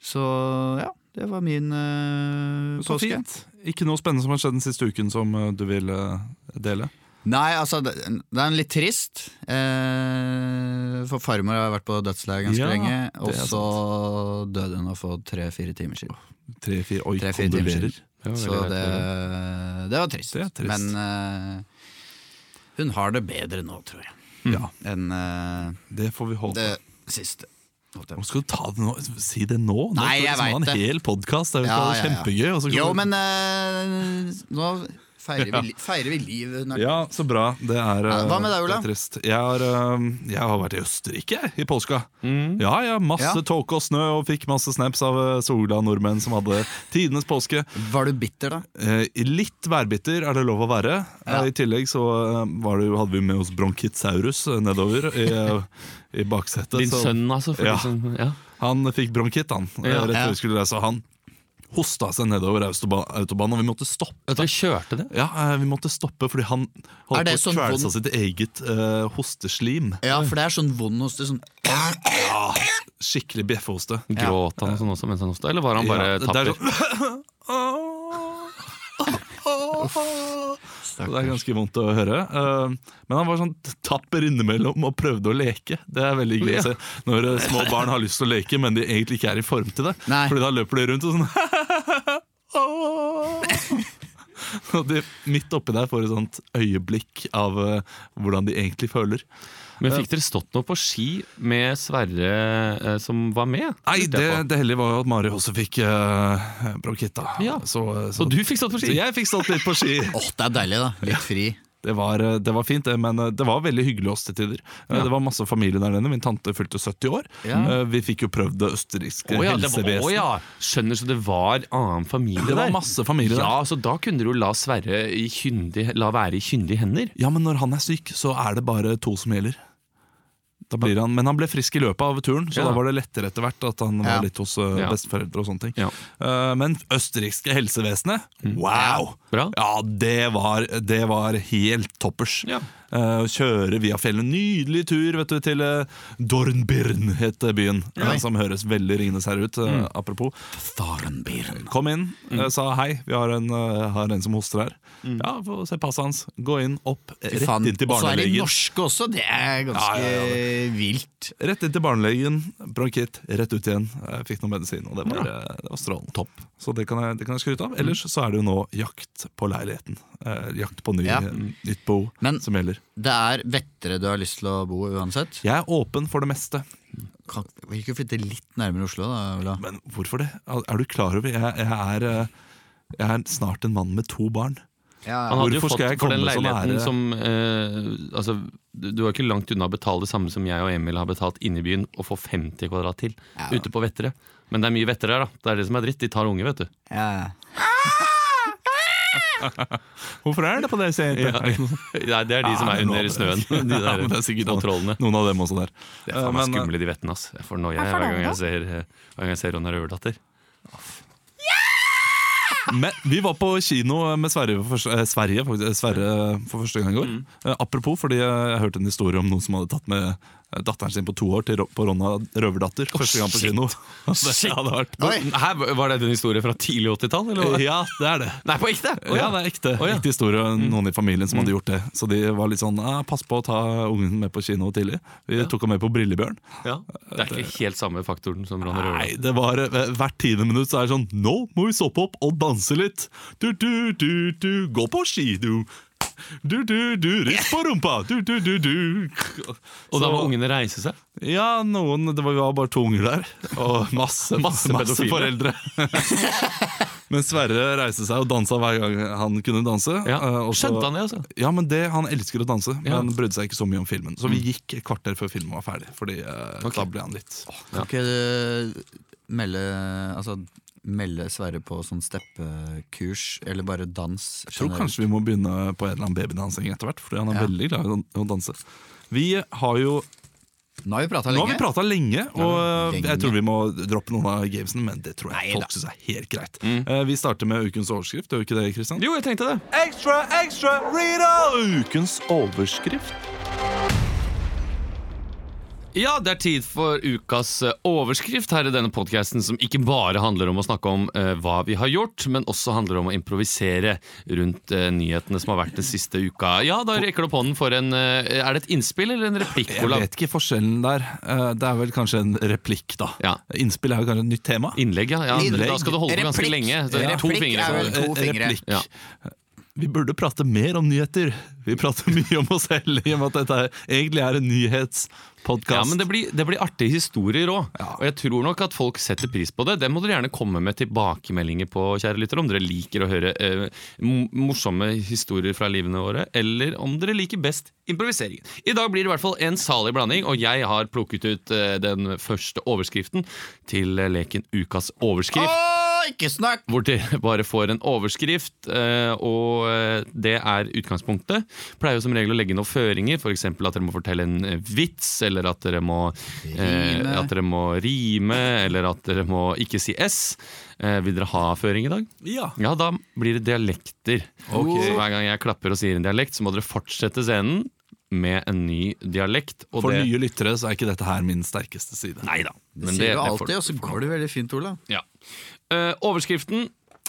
Speaker 3: Så ja, det var min eh,
Speaker 1: Så
Speaker 3: påske.
Speaker 1: fint. Ikke noe spennende som har skjedd den siste uken som eh, du vil eh, dele?
Speaker 3: Nei, altså, det, det er en litt trist. Eh, for farmor har vært på dødsleiet ganske
Speaker 1: Ja,
Speaker 3: lenge,
Speaker 1: det er
Speaker 3: og så døde hun for tre-fire timer siden.
Speaker 1: Tre-fire Oi,
Speaker 3: Tre-fire timer
Speaker 1: kondolerer.
Speaker 3: Så det, det var trist.
Speaker 1: Det er trist.
Speaker 3: Men eh, hun har det bedre nå, tror jeg,
Speaker 1: Ja,
Speaker 3: enn eh,
Speaker 1: det får vi håpe.
Speaker 3: det siste. holdt jeg på å
Speaker 1: Nå
Speaker 3: si.
Speaker 1: Skal du ta det nå? si det nå? Nå
Speaker 3: Nei,
Speaker 1: skal
Speaker 3: jeg
Speaker 1: liksom ha
Speaker 3: vet det.
Speaker 1: En hel podcast, det er jo
Speaker 3: Ja, ja, ja.
Speaker 1: kjempegøy. og så kan
Speaker 3: Jo,
Speaker 1: du-
Speaker 3: men eh, nå feirer vi, li- feirer vi livet. hun er-
Speaker 1: Ja, så bra. Det er,
Speaker 3: Ja, hva med deg,
Speaker 1: eh,
Speaker 3: Olav?
Speaker 1: det er trist. Jeg har, eh, jeg har vært i Østerrike jeg, i påska.
Speaker 2: Mm.
Speaker 1: Ja, ja, Masse
Speaker 3: Ja.
Speaker 1: tåke og snø, og fikk masse snaps av eh, sola nordmenn som hadde tidenes påske.
Speaker 3: Var du bitter, da?
Speaker 1: Eh, litt værbitter er det lov å være.
Speaker 3: Ja.
Speaker 1: Eh, I tillegg så eh, var det, jo- hadde vi med oss bronkitsaurus eh, nedover i, eh, i baksetet.
Speaker 2: Din
Speaker 1: så
Speaker 2: sønn, altså. For
Speaker 1: Ja.
Speaker 2: de som- ja.
Speaker 1: Han fikk bronkitt, han. eh,
Speaker 2: Ja.
Speaker 1: Rett
Speaker 3: Ja.
Speaker 1: før vi skulle reise. og Han hosta seg nedover autoba- autobanen, og vi måtte stoppe.
Speaker 2: At dere kjørte det?
Speaker 1: Ja, eh, Vi måtte stoppe fordi han
Speaker 3: Er
Speaker 1: holdt på
Speaker 3: det
Speaker 1: å
Speaker 3: sånn
Speaker 1: kvele
Speaker 3: vond-
Speaker 1: seg sitt eget eh, hosteslim. Ah,
Speaker 3: Ja, for det er sånn vond hoste. Sånn
Speaker 1: Skikkelig bjeffehoste.
Speaker 2: Gråt han og sånn også mens han hosta, eller var han bare
Speaker 1: Ja, det er
Speaker 2: tapper?
Speaker 1: sånn- Så Det er ganske vondt å høre. Eh, Men han var sånn tapper innimellom og prøvde å leke. Det er veldig gøy å se når eh, små barn har lyst til å leke, men de egentlig ikke er i form til det.
Speaker 3: Nei.
Speaker 1: Fordi da løper de rundt og sånn Og de, midt oppi der får et sånt øyeblikk av eh, hvordan de egentlig føler.
Speaker 2: Men fikk dere stått noe på ski med Sverre eh, som var med?
Speaker 1: Nei,
Speaker 2: Lurte
Speaker 1: det,
Speaker 2: jeg på.
Speaker 1: det heldige var jo at Mari også fikk eh, bronkitt, da.
Speaker 2: Ja.
Speaker 1: Så, så,
Speaker 2: Så du fikk stått på
Speaker 1: så
Speaker 2: ski?
Speaker 1: jeg fikk stått litt på ski.
Speaker 3: Åh, det er deilig, da. Litt fri.
Speaker 1: Det var, eh, det var fint, det, men det var veldig hyggelig oss til tider. Eh, Det var masse familie der nede. Min tante fylte 70 år. Eh, Vi fikk jo prøvd det østerrikske
Speaker 2: Å ja, det var,
Speaker 1: helsevesenet.
Speaker 2: å ja. Skjønner så det var annen familie
Speaker 1: Det var
Speaker 2: der.
Speaker 1: masse familie der.
Speaker 2: Ja, så da kunne dere jo la Sverre i kyndig, la være i kyndige hender.
Speaker 1: Ja, men når han er syk, så er det bare to som gjelder. Da blir han, men han ble frisk i løpet av turen, så
Speaker 2: Ja.
Speaker 1: da var det lettere etter hvert at han
Speaker 3: Ja.
Speaker 1: var litt hos eh,
Speaker 2: Ja.
Speaker 1: besteforeldre og sånne ting.
Speaker 2: Ja.
Speaker 1: Eh, men østerrikske helsevesenet,
Speaker 3: Mm.
Speaker 1: wow!
Speaker 2: Bra.
Speaker 1: Ja, det var, det var helt toppers.
Speaker 2: Ja.
Speaker 1: Eh, Å kjøre via fjellet. Nydelig tur vet du, til eh, Dornbirn, het byen. eh,
Speaker 3: Oi.
Speaker 1: Som høres veldig Ringenes herre ut. eh,
Speaker 3: Mm.
Speaker 1: Apropos.
Speaker 3: Farenbilen.
Speaker 1: Kom inn,
Speaker 3: Mm.
Speaker 1: eh, sa hei, vi har en, eh, har en som hoster her. Ja, få se passet hans. Gå inn, opp, eh, rett inn til
Speaker 3: Og så er de
Speaker 1: barnelegen.
Speaker 3: norske også, det er
Speaker 1: Ja,
Speaker 3: ganske
Speaker 1: ja,
Speaker 3: vilt.
Speaker 1: Rett inn til barnelegen, bronkitt, rett ut igjen. Jeg fikk noe medisin, og det var, eh, det var strålende. Så det kan, jeg, det kan jeg skryte av. Ellers så er det jo nå jakt på leiligheten. Eh, jakt på ny,
Speaker 3: Ja.
Speaker 1: nytt bo
Speaker 3: Men-
Speaker 1: som gjelder.
Speaker 3: Det er vettere du har lyst til å bo uansett.
Speaker 1: Jeg er åpen for det meste,
Speaker 3: Kan, vil ikke du flytte litt nærmere Oslo, da? Ola?
Speaker 1: men hvorfor det? Er er du klar over Jeg, jeg, er, eh, jeg er snart en mann med to barn.
Speaker 2: Han hadde
Speaker 1: Hvorfor
Speaker 2: jo
Speaker 1: skal jeg
Speaker 2: fått for den
Speaker 1: komme så
Speaker 2: leiligheten
Speaker 1: nære?
Speaker 2: som eh, altså, Du du var ikke langt unna å betale det samme som jeg og Emil har betalt inne i byen, og få 50 kvadrat til
Speaker 3: Ja.
Speaker 2: ute på Vettere. Men det er mye Vettere her, da. Det er det som er dritt. De tar unge, vet du.
Speaker 3: Ja.
Speaker 1: Hvorfor er det på det? sier jeg
Speaker 2: Ja.
Speaker 1: ikke.
Speaker 2: Nei, det er de som
Speaker 1: Ja,
Speaker 2: er
Speaker 1: men
Speaker 2: under
Speaker 1: nå-
Speaker 2: snøen. De
Speaker 1: Ja, men det er
Speaker 2: der
Speaker 1: sikkert
Speaker 2: kontrollene.
Speaker 1: Noen av dem også der.
Speaker 2: Det er faen meg
Speaker 1: Eh, men,
Speaker 2: skumle, de vettene. ass. Jeg får noia
Speaker 4: Hvorfor
Speaker 2: hver gang
Speaker 4: det,
Speaker 2: jeg ser, eh, hver gang jeg ser Ronja Røverdatter.
Speaker 1: Men vi var på kino med Sverige for første, eh, Sverige, faktisk, eh, Sverre for første gang i går.
Speaker 2: Mm.
Speaker 1: Eh, apropos, fordi jeg hørte en historie om noen som hadde tatt med eh, datteren sin på to år til, Ro- på Ronna Røverdatter. Første gang på
Speaker 2: shit.
Speaker 1: kino. Det hadde vært
Speaker 3: Oi.
Speaker 2: Her, var det en historie fra tidlig 80-tall? eller hva?
Speaker 1: Ja, det er det.
Speaker 2: Nei, på ekte! Å,
Speaker 1: ja, det er ekte,
Speaker 2: Å, ja. Mm.
Speaker 1: ekte historie. Noen i familien som hadde gjort det. Så de var litt sånn ah, 'pass på å ta ungen med på kino tidlig'. Vi tok henne med på Brillebjørn.
Speaker 2: Ja. Det er ikke helt samme faktoren som Ronja Røverdatter.
Speaker 1: Nei, det var eh, hvert tiende minutt så er det sånn Nå må vi stoppe opp og danse litt Du, du, du, du, gå på ski, du Du, du, du, rist på rumpa Du, du, du, du
Speaker 2: Og da
Speaker 1: Så-
Speaker 2: må ungene reise seg.
Speaker 1: Ja, noen, det var, vi var bare to unger der Og masse, masse, masse
Speaker 2: pedofile.
Speaker 1: foreldre Men Sverre reiste seg og dansa hver gang han kunne danse
Speaker 2: Ja.
Speaker 1: eh, og så-
Speaker 2: Skjønte han det, altså?
Speaker 1: ja, men det, Han elsker å danse,
Speaker 2: Ja. Mm.
Speaker 1: men brydde seg ikke så mye om filmen. Så vi gikk et kvarter før filmen var ferdig. Fordi eh,
Speaker 2: Ok.
Speaker 1: da ble han litt
Speaker 3: Kan ikke du melde, altså, melde Sverre på sånn steppekurs, eller bare dans?
Speaker 1: Jeg tror kanskje vi må begynne på en eller annen babydansing etter hvert. Fordi han er
Speaker 3: Ja.
Speaker 1: veldig glad i å- å danse. Vi har jo
Speaker 3: Nå har vi prata
Speaker 1: Nå
Speaker 3: lenge.
Speaker 1: har vi prata lenge, og eh,
Speaker 3: lenge.
Speaker 1: jeg tror vi må droppe noen av gamesene. Men det tror jeg folk syns er helt greit. Eh, Vi starter med ukens overskrift. Gjør vi ikke det, Kristian?
Speaker 2: Jo, jeg tenkte det.
Speaker 1: Ekstra, ekstra, read Ukens overskrift.
Speaker 2: Ja, det er tid for ukas eh, overskrift her i denne podcasten, som ikke bare handler om å snakke om eh, hva vi har gjort, men også handler om å improvisere rundt eh, nyhetene som har vært den siste uka. Ja, da rekker du opp hånden for en eh, Er det et innspill eller en replikk,
Speaker 1: Jeg
Speaker 2: Olav?
Speaker 1: vet ikke forskjellen der. Eh, Det er vel kanskje en replikk, da.
Speaker 2: Ja.
Speaker 1: Innspill er jo kanskje et nytt tema.
Speaker 2: Innlegg, ja. ja.
Speaker 3: Innlegg.
Speaker 2: Da skal du holde på ganske
Speaker 3: Replikk.
Speaker 2: lenge. Så det
Speaker 3: Ja.
Speaker 2: er to
Speaker 3: Replikk
Speaker 2: fingre.
Speaker 3: er
Speaker 2: som-
Speaker 3: vel to
Speaker 1: Eh,
Speaker 3: fingre.
Speaker 1: Replikk.
Speaker 2: Ja.
Speaker 1: Vi burde prate mer om nyheter. Vi prater mye om oss selv i og med at dette er, egentlig er en nyhetspodkast.
Speaker 2: Ja, men det blir, det blir artige historier òg.
Speaker 1: Ja.
Speaker 2: Og jeg tror nok at folk setter pris på det. Det må dere gjerne komme med tilbakemeldinger på, kjære lyttere. Om dere liker å høre eh, mo- morsomme historier fra livene våre, eller om dere liker best improviseringen. I dag blir det i hvert fall en salig blanding, og jeg har plukket ut eh, den første overskriften til eh, leken Ukas overskrift
Speaker 3: Å, ikke snakk!
Speaker 2: hvor dere bare får en overskrift, eh, og eh, det er utgangspunktet. Pleier jo som regel å legge noen føringer, f.eks. at dere må fortelle en eh, vits, eller at dere må eh,
Speaker 3: Rime.
Speaker 2: at dere må rime, eller at dere må ikke si S. Eh, vil dere ha føring i dag?
Speaker 1: Ja.
Speaker 2: Ja, da blir det dialekter.
Speaker 1: Ok.
Speaker 2: Så hver gang jeg klapper og sier en dialekt, så må dere fortsette scenen med en ny dialekt. Og
Speaker 1: For
Speaker 2: det,
Speaker 1: nye lyttere så er ikke dette her min sterkeste side.
Speaker 2: Nei da.
Speaker 3: Det sier du alltid, og så går det veldig fint, Ola.
Speaker 2: Ja. Eh, overskriften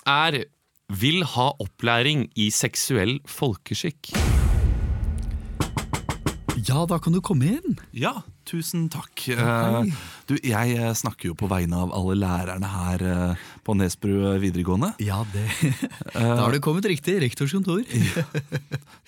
Speaker 2: er Vil ha opplæring i seksuell folkeskikk.
Speaker 3: Ja, da kan du komme inn.
Speaker 1: Ja, tusen takk. Eh, Du, jeg eh, snakker jo på vegne av alle lærerne her eh, på Nesbru videregående.
Speaker 3: Ja, det Da har du kommet riktig. Rektors kontor.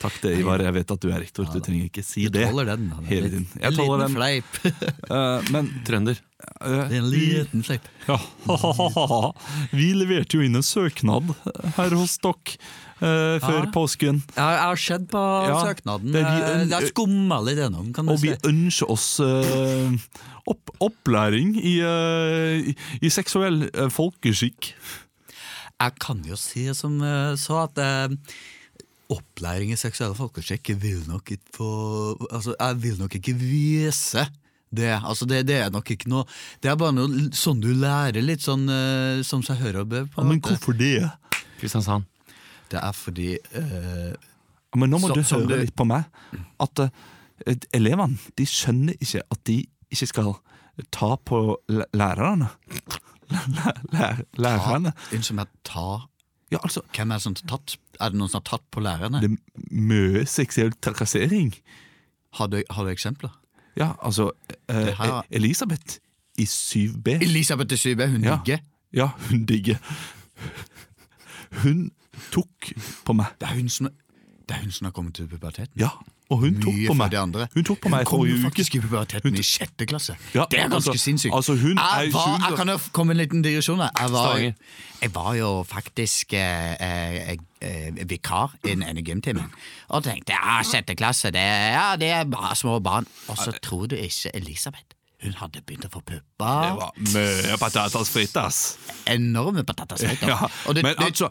Speaker 1: Takk det, Ivar. Jeg vet at du er rektor. Du trenger ikke si det.
Speaker 3: Holder den. da.
Speaker 1: Hele tiden. Jeg
Speaker 3: en
Speaker 1: tåler
Speaker 3: liten
Speaker 1: den.
Speaker 3: fleip.
Speaker 1: Eh, Men
Speaker 2: Trønder.
Speaker 1: eh,
Speaker 3: En liten fleip.
Speaker 1: Ja, Vi leverte jo inn en søknad her hos dere eh, før
Speaker 3: Ja.
Speaker 1: påsken.
Speaker 3: Ja, jeg har sett på
Speaker 1: Ja, det
Speaker 3: søknaden. Eh, Det,
Speaker 1: er vi-
Speaker 3: har skumma litt gjennom, kan du
Speaker 1: Og
Speaker 3: si.
Speaker 1: vi ønsker oss eh, opp, opplæring i, eh, i- i seksuell eh, folkeskikk.
Speaker 3: Jeg kan jo si som eh, så at eh, opplæring i seksuelle folkeskikk vil nok ikke få Altså, jeg vil nok ikke vise det. Altså, det, det er nok ikke noe Det er bare noe l- sånn du lærer litt, sånn eh, som seg hør og bør. på en
Speaker 1: Men
Speaker 3: måte.
Speaker 1: hvorfor det? Ja,
Speaker 2: Kristiansand.
Speaker 3: Det er fordi eh,
Speaker 1: Men nå må
Speaker 3: Så-
Speaker 1: du
Speaker 3: som
Speaker 1: høre
Speaker 3: du-
Speaker 1: litt på meg. At eh, et- elevene de skjønner ikke at de ikke skal ta på læ- lærerne. Læ- læ- Lærerne.
Speaker 3: Unnskyld meg, ta
Speaker 1: Ja, altså,
Speaker 3: Hvem er det som har tatt? Er det noen som har tatt på lærerne?
Speaker 1: det er mye seksuell trakassering.
Speaker 3: Har du, har du eksempler?
Speaker 1: Ja, altså eh,
Speaker 3: her-
Speaker 1: Elisabeth i 7B.
Speaker 3: Elisabeth de Sybe, hun
Speaker 1: Ja.
Speaker 3: digger.
Speaker 1: Ja, hun digger. Hun tok på meg.
Speaker 3: Det er hun som det er hun som har kommet til puberteten.
Speaker 1: Ja, og hun tok
Speaker 3: Mye
Speaker 1: på
Speaker 3: for
Speaker 1: meg.
Speaker 3: de andre.
Speaker 1: Hun tok på meg i
Speaker 3: kom jo
Speaker 1: forrige uke.
Speaker 3: faktisk i puberteten i sjette klasse.
Speaker 1: Ja,
Speaker 3: det er ganske
Speaker 1: altså-
Speaker 3: sinnssykt.
Speaker 1: altså, hun er
Speaker 3: jeg, var,
Speaker 1: sjuende-
Speaker 3: jeg kan jo komme med en liten digresjon. her. Jeg var,
Speaker 2: Stavanger.
Speaker 3: jeg var jo faktisk eh, eh, eh, vikar i den ene gymtimen. Og tenkte ja, sjette klasse, det, ja, det er bare små barn. Og så tror du ikke Elisabeth. Hun hadde begynt å få
Speaker 1: Det
Speaker 3: pupper.
Speaker 1: var mye patatas fritas.
Speaker 3: Enorme patatasveiter.
Speaker 1: Ja,
Speaker 3: og det,
Speaker 1: men
Speaker 3: det,
Speaker 1: altså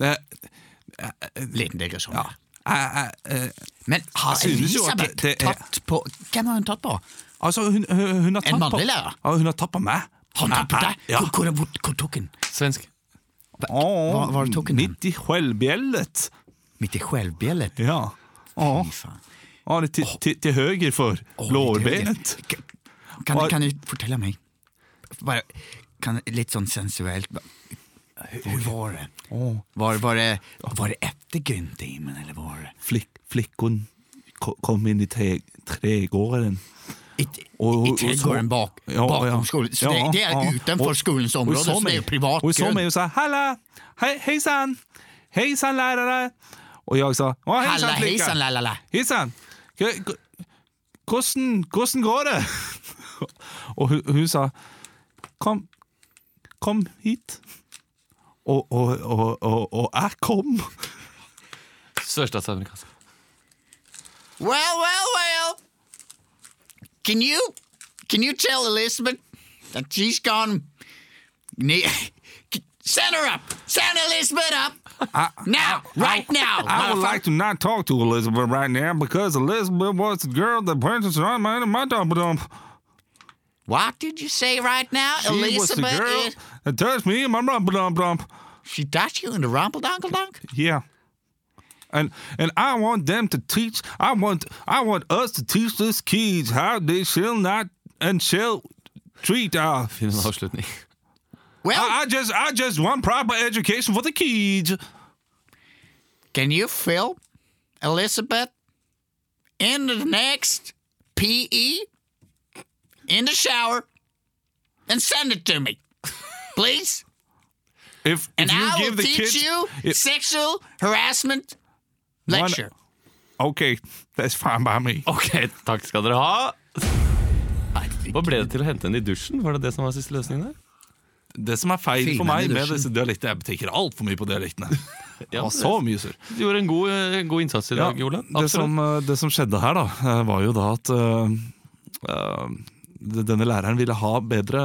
Speaker 1: eh,
Speaker 3: liten digresjon. her.
Speaker 1: eh, eh,
Speaker 3: Men har
Speaker 1: Jeg synes jo at
Speaker 3: Elisabeth
Speaker 1: det- det er-
Speaker 3: tatt på Hvem har hun tatt på?
Speaker 1: Altså, hun, hun, hun har tatt
Speaker 3: En
Speaker 1: på
Speaker 3: mannlig lærer?
Speaker 1: Ja, Hun har tatt på meg.
Speaker 3: Han tok på deg?
Speaker 1: Ja.
Speaker 3: Hvor, hvor, hvor, hvor tok hun?
Speaker 2: Svensk.
Speaker 1: Åh,
Speaker 3: Hva- hva tok hun den?
Speaker 1: Midt i skjellbjellet.
Speaker 3: Midt i skjelvbjellet?
Speaker 1: Ja. Åh,
Speaker 3: Fy faen.
Speaker 1: Åh, det er til, til, til høyre for
Speaker 3: Åh,
Speaker 1: lårbenet.
Speaker 3: litt høyere. Kan, kan du fortelle meg Bare, kan, Litt sånn sensuelt bare, Hur var det?
Speaker 1: Åh.
Speaker 3: Var, var det? Var det etter Gyntimen, eller var det
Speaker 1: Flik, flikken ko- kom inn i tre, tregården.
Speaker 3: I,
Speaker 1: Og-
Speaker 3: i
Speaker 1: og- og
Speaker 3: trädgården
Speaker 1: så-
Speaker 3: bak,
Speaker 1: Ja, ja.
Speaker 3: bakom skolen?
Speaker 1: Ja,
Speaker 3: Så det, det
Speaker 1: ja.
Speaker 3: er utenfor
Speaker 1: Og-
Speaker 3: skolens
Speaker 1: og
Speaker 3: område,
Speaker 1: hun så
Speaker 3: så det er jo
Speaker 1: meg- Og
Speaker 3: privat
Speaker 1: hun så
Speaker 3: grunn.
Speaker 1: meg og sa 'halla, hei, hei sann, hei sann, lærere'. Og jeg sa 'å, hei
Speaker 3: Halla,
Speaker 1: sann, flinke'.
Speaker 3: heisan, la-la-la.
Speaker 1: Hei sann! K- k- Hvordan, hvordan går det? og hun, hun sa Kom, kom hit. Og, og, og, og, og jeg kom.
Speaker 2: Sørstatsamerikansk.
Speaker 3: Well, well, well. Can you can you tell Elizabeth that she's gone? Ne- Send her up. Send Elizabeth up now, right now.
Speaker 1: I would like to not talk to Elizabeth right now because Elizabeth was the girl that purchased on my, my dump dump.
Speaker 3: What did you say right now,
Speaker 1: She was the
Speaker 3: Elizabeth?
Speaker 1: girl
Speaker 3: is-
Speaker 1: that touched me in my rump dump dump.
Speaker 3: she touched you in the rumble donkle donk?
Speaker 1: Yeah. And and I want them to teach I want I want us to teach these kids how they shall not and shall treat our
Speaker 2: Finn en avslutning.
Speaker 3: Well,
Speaker 1: I, I just I just want proper education for the kids.
Speaker 3: can you fill Elizabeth in the next PE in the shower and send it to me, please?
Speaker 1: If,
Speaker 3: And
Speaker 1: if you
Speaker 3: I
Speaker 1: give
Speaker 3: will
Speaker 1: the
Speaker 3: teach
Speaker 1: kids
Speaker 3: you
Speaker 1: if-
Speaker 3: sexual harassment
Speaker 1: One-
Speaker 3: lecture.
Speaker 1: Okay, that's fine by me.
Speaker 2: Ok, takk skal dere ha. Hva ble det til å hente henne i dusjen? Var det det som var siste løsningen der?
Speaker 1: Det som er feil
Speaker 3: Filmen
Speaker 1: for meg
Speaker 3: i
Speaker 1: med
Speaker 3: dusjen.
Speaker 1: disse dialektene Jeg betenker altfor mye på dialektene.
Speaker 2: Ja,
Speaker 1: Og så mye sur.
Speaker 2: Du gjorde en god, eh, god innsats i
Speaker 1: Ja,
Speaker 2: dag, Ole.
Speaker 1: det, som, eh, det som skjedde her, da, eh, var jo da at eh, eh, d- denne læreren ville ha bedre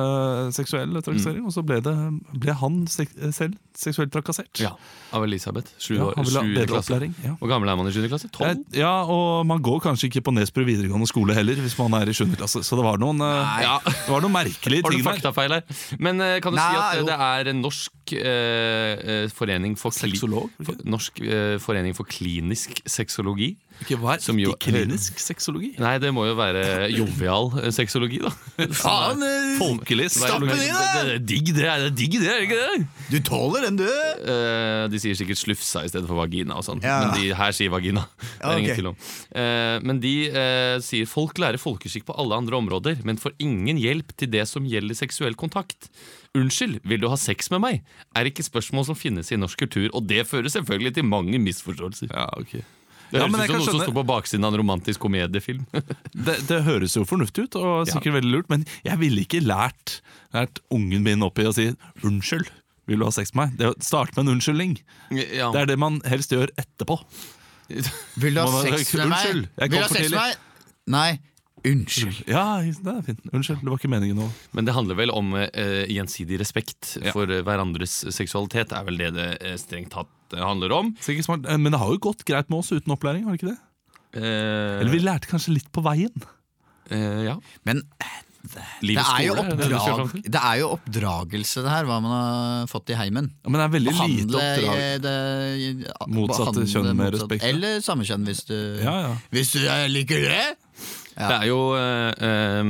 Speaker 1: seksuell
Speaker 2: Mm.
Speaker 1: trakassering, og så ble, det, ble han sek selv seksuelt trakassert.
Speaker 2: Ja, Av Elisabeth. Sju
Speaker 1: Ja,
Speaker 2: år.
Speaker 1: han ville ha
Speaker 2: sjuende
Speaker 1: bedre
Speaker 2: klasse.
Speaker 1: opplæring. Ja.
Speaker 2: Hvor gammel er man i 7. klasse? 12?
Speaker 1: Jeg- Eh, ja, og man går kanskje ikke på Nesbru videregående skole heller, hvis man er i 7. klasse, så det var noen, eh, ja, det var noen merkelige
Speaker 2: Har du
Speaker 1: ting der.
Speaker 2: faktafeil her? Men eh, kan du
Speaker 3: Nei,
Speaker 2: si at eh,
Speaker 3: jo.
Speaker 2: det er en norsk eh, eh, forening for kli-
Speaker 1: Sexolog, ikke?
Speaker 2: for, Norsk eh, forening for klinisk sexologi
Speaker 1: Ikke hva er
Speaker 2: Som jo-
Speaker 1: ikke-klinisk sexologi?
Speaker 2: Nei, det må jo være jovial eh, sexologi, da.
Speaker 3: Faen! eh,
Speaker 1: Folkelig
Speaker 3: Stapp den i
Speaker 1: sexologi.
Speaker 3: deg!
Speaker 2: Det er digg, det. er det er digg det, er det ikke det?
Speaker 3: Du tåler den, du!
Speaker 2: Eh, de sier sikkert slufsa i stedet for vagina og sånn.
Speaker 3: Ja.
Speaker 2: Men de her sier vagina. Det
Speaker 3: Ja,
Speaker 2: er ingen
Speaker 3: ok.
Speaker 2: tvil om. Eh, men de eh, sier folk lærer folkeskikk på alle andre områder, men får ingen hjelp til det som gjelder seksuell kontakt. Unnskyld, vil du ha sex med meg? Er ikke spørsmål som finnes i norsk kultur, og det fører selvfølgelig til mange misforståelser.
Speaker 1: Ja, ok
Speaker 2: Det
Speaker 1: Ja,
Speaker 2: høres
Speaker 1: men jeg
Speaker 2: ut som
Speaker 1: kan
Speaker 2: noe som
Speaker 1: skjønne-
Speaker 2: står på baksiden av en romantisk komediefilm.
Speaker 1: Det, det høres jo fornuftig ut, og sikkert veldig lurt, men jeg ville ikke lært, lært ungen min opp i å si 'unnskyld, vil du ha sex med meg?' Det er å starte med en unnskyldning.
Speaker 2: ja.
Speaker 1: Det er det man helst gjør etterpå.
Speaker 3: Vil du ha
Speaker 1: Må da-
Speaker 3: sex med meg?
Speaker 1: Unnskyld, jeg
Speaker 3: Vil du
Speaker 1: kom
Speaker 3: ha
Speaker 1: for
Speaker 3: sex med
Speaker 1: tidlig.
Speaker 3: meg? Nei. Unnskyld.
Speaker 1: Ja, det er fint. Unnskyld, det var ikke meningen nå.
Speaker 2: Men det handler vel om eh, gjensidig respekt
Speaker 1: Ja.
Speaker 2: for eh, hverandres seksualitet, er vel det det eh, strengt tatt eh, handler om.
Speaker 1: Sikkert smart, eh, Men det har jo gått greit med oss uten opplæring, har det ikke det?
Speaker 2: Eh,
Speaker 1: Eller vi lærte kanskje litt på veien.
Speaker 2: eh, ja.
Speaker 3: Men det
Speaker 2: Livets
Speaker 3: er, jo
Speaker 2: skole, er det det du ser
Speaker 3: oppdrag,
Speaker 2: fram til?
Speaker 3: det er jo oppdragelse, det her, hva man har fått i heimen.
Speaker 1: Ja, Men det er veldig lite
Speaker 3: Behandle
Speaker 1: oppdrag.
Speaker 3: eh, det,
Speaker 1: Motsatte
Speaker 3: behandle
Speaker 1: kjønn med respekt, ja.
Speaker 3: Eller samme kjønn, hvis du,
Speaker 1: Ja, ja.
Speaker 3: hvis du eh, liker det.
Speaker 2: Det er jo eh, em,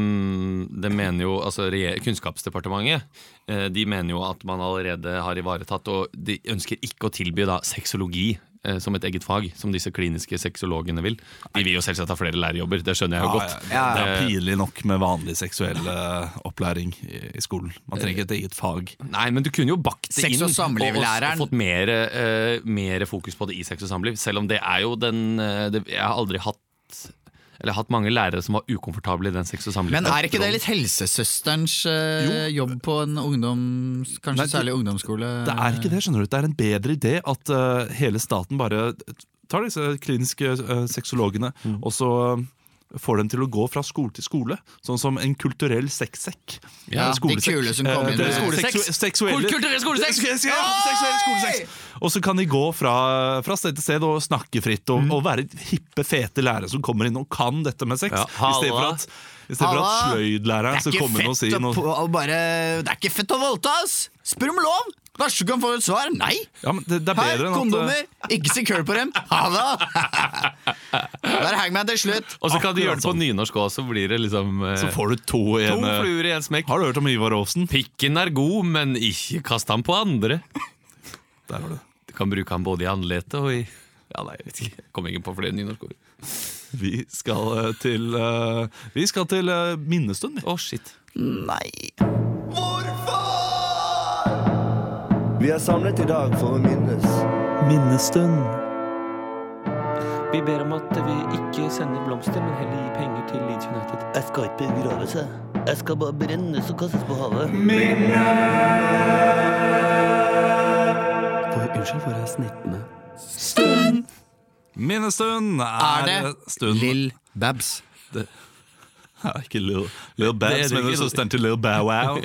Speaker 2: Det mener jo altså, regje- Kunnskapsdepartementet eh, De mener jo at man allerede har ivaretatt, og de ønsker ikke å tilby da sexologi. eh, Som et eget fag, som disse kliniske sexologene vil. De vil jo selvsagt ha flere lærerjobber, det skjønner jeg jo godt.
Speaker 1: Ja, ja. Det er pinlig nok med vanlig seksuell eh, opplæring i, i skolen. Man trenger ikke et eget fag.
Speaker 2: Nei, men du kunne jo bakt det
Speaker 3: Sex-
Speaker 2: inn
Speaker 3: og samlivlæreren.
Speaker 2: og fått mer, eh, mer fokus på det i sex og samliv. Selv om det er jo den eh, det, Jeg har aldri hatt eller hatt mange lærere som var ukomfortable i den sex og samliv.
Speaker 3: Men er ikke det litt helsesøsterens eh, jobb på en ungdoms... Kanskje
Speaker 1: Nei, det-
Speaker 3: særlig ungdomsskole?
Speaker 1: Det er ikke det, skjønner du. Det er en bedre idé at eh, hele staten bare tar disse kliniske uh, sexologene,
Speaker 3: Mm.
Speaker 1: og så eh, får dem til å gå fra skole til skole. Sånn som en kulturell sexsekk.
Speaker 3: Ja,
Speaker 1: Eh, skolesekk.
Speaker 3: de kule som
Speaker 1: Eh,
Speaker 3: kommer
Speaker 1: det er
Speaker 3: med-
Speaker 1: skolesekk.
Speaker 2: Seksu-
Speaker 1: seksuelle-
Speaker 2: kulturell skolesekk!
Speaker 1: Seksuell- ja, seksuell skolesekk. Og så kan de gå fra, fra sted til sted og snakke fritt, og,
Speaker 3: Mm.
Speaker 1: og være hippe, fete lærere som kommer inn og kan dette med sex.
Speaker 2: Ja,
Speaker 1: I stedet for
Speaker 2: halla.
Speaker 1: at, i stedet for at
Speaker 3: Halla. Det
Speaker 1: sløydlæreren
Speaker 3: er
Speaker 1: som
Speaker 3: ikke
Speaker 1: kommer inn og
Speaker 3: fett
Speaker 1: sier
Speaker 3: å,
Speaker 1: altså noe.
Speaker 3: på, å bare, det er ikke fett å voldta, ass! Spør om lov! Kanskje du kan få et svar? Nei!
Speaker 1: Ja, men det, det er
Speaker 3: Her,
Speaker 1: bedre enn at eh,
Speaker 3: kondomer! Ikke si køl på dem! Ha det! Der henger man til slutt.
Speaker 2: Og så kan de gjøre det på
Speaker 1: Akkurat
Speaker 2: nynorsk òg, så blir det liksom eh,
Speaker 1: Så får du to i
Speaker 2: to
Speaker 1: en eh,
Speaker 2: fluer i en smekk.
Speaker 1: Har du hørt om Ivar Aasen?
Speaker 2: Pikken er god, men ikke kast den på andre.
Speaker 1: Der har du det.
Speaker 2: Du kan bruke den både i andletet og i Ja, nei, jeg vet ikke. Jeg Kom ikke på flere nynorskord.
Speaker 1: Vi skal eh, til, eh, vi skal til eh, minnestund. vi.
Speaker 2: Å, shit.
Speaker 3: Nei.
Speaker 4: Vi er samlet i dag for å minnes.
Speaker 5: Vi ber om at vi ikke sender blomster, men heller gir penger til Leeds United.
Speaker 6: Jeg skal ikke begravelse. Jeg skal bare brennes og kastes på havet.
Speaker 5: For, unnskyld for jeg snittende.
Speaker 1: Minnestund
Speaker 3: Er
Speaker 1: er,
Speaker 3: det
Speaker 1: stund
Speaker 3: Lill Babs?
Speaker 1: Ja, Ikke Lil, Lil
Speaker 2: Det er
Speaker 1: Babs,
Speaker 2: det
Speaker 1: men
Speaker 2: ikke.
Speaker 1: søsteren til Lil Bow Wow.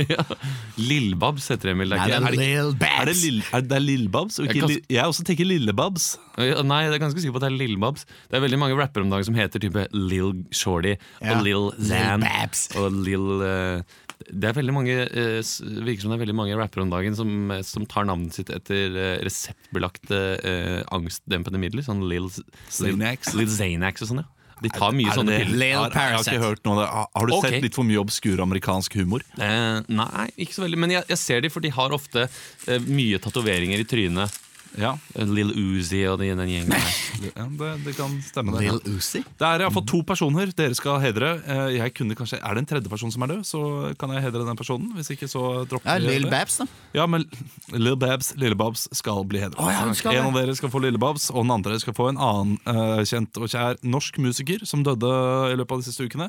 Speaker 2: Lillbabs heter Emil. Det
Speaker 3: Nei, det
Speaker 2: er
Speaker 3: er
Speaker 2: ikke-
Speaker 3: Lill
Speaker 1: Er det,
Speaker 3: Babs.
Speaker 1: Lil, er det Lil Babs? Og
Speaker 2: Jeg
Speaker 1: ikke
Speaker 2: kan-
Speaker 1: Lil, jeg også tenker Lille Babs.
Speaker 2: Ja, Nei, jeg er ganske sikker på at det er Lillbabs. Det er veldig mange rappere om dagen som heter type Lill Shorty
Speaker 3: Ja.
Speaker 2: og Lill
Speaker 3: Lil
Speaker 2: Zan
Speaker 3: Babs.
Speaker 2: og Lill eh, Det er veldig mange eh, s- virker som det er veldig mange rappere om dagen som, eh, som tar navnet sitt etter eh, reseptbelagte eh, angstdempende midler. Sånn Lill Z-
Speaker 1: Xanax.
Speaker 2: Lill Xanax og sånn, ja. De tar mye
Speaker 1: Er
Speaker 2: sånne
Speaker 1: det-
Speaker 2: piller.
Speaker 3: Lil
Speaker 1: har, har jeg
Speaker 3: Parasite.
Speaker 1: ikke hørt noe av det. Ah, Har- Har du
Speaker 2: Ok.
Speaker 1: sett litt for mye obskur amerikansk humor?
Speaker 2: Eh, nei, ikke så veldig. Men jeg, jeg ser de, for de har ofte eh, mye tatoveringer i trynet.
Speaker 1: Ja,
Speaker 2: Lill Uzi og de, den gjengen der.
Speaker 1: det, ja, det, det kan stemme. Det.
Speaker 3: Lill Uzi?
Speaker 1: Det er iallfall to personer dere skal hedre. Eh, Jeg kunne kanskje, Er det en tredje person som er død, så kan jeg hedre den personen. Hvis ikke, så dropper
Speaker 3: Ja,
Speaker 1: vi
Speaker 3: Lill
Speaker 1: det.
Speaker 3: Babs, da.
Speaker 1: Ja, men Lille Babs, Lille Babs skal bli hedret.
Speaker 3: Å, ja, hun skal
Speaker 1: en
Speaker 3: det.
Speaker 1: av dere skal få Lille Babs, og den andre skal få en annen eh, kjent og kjær norsk musiker som døde i løpet av de siste ukene.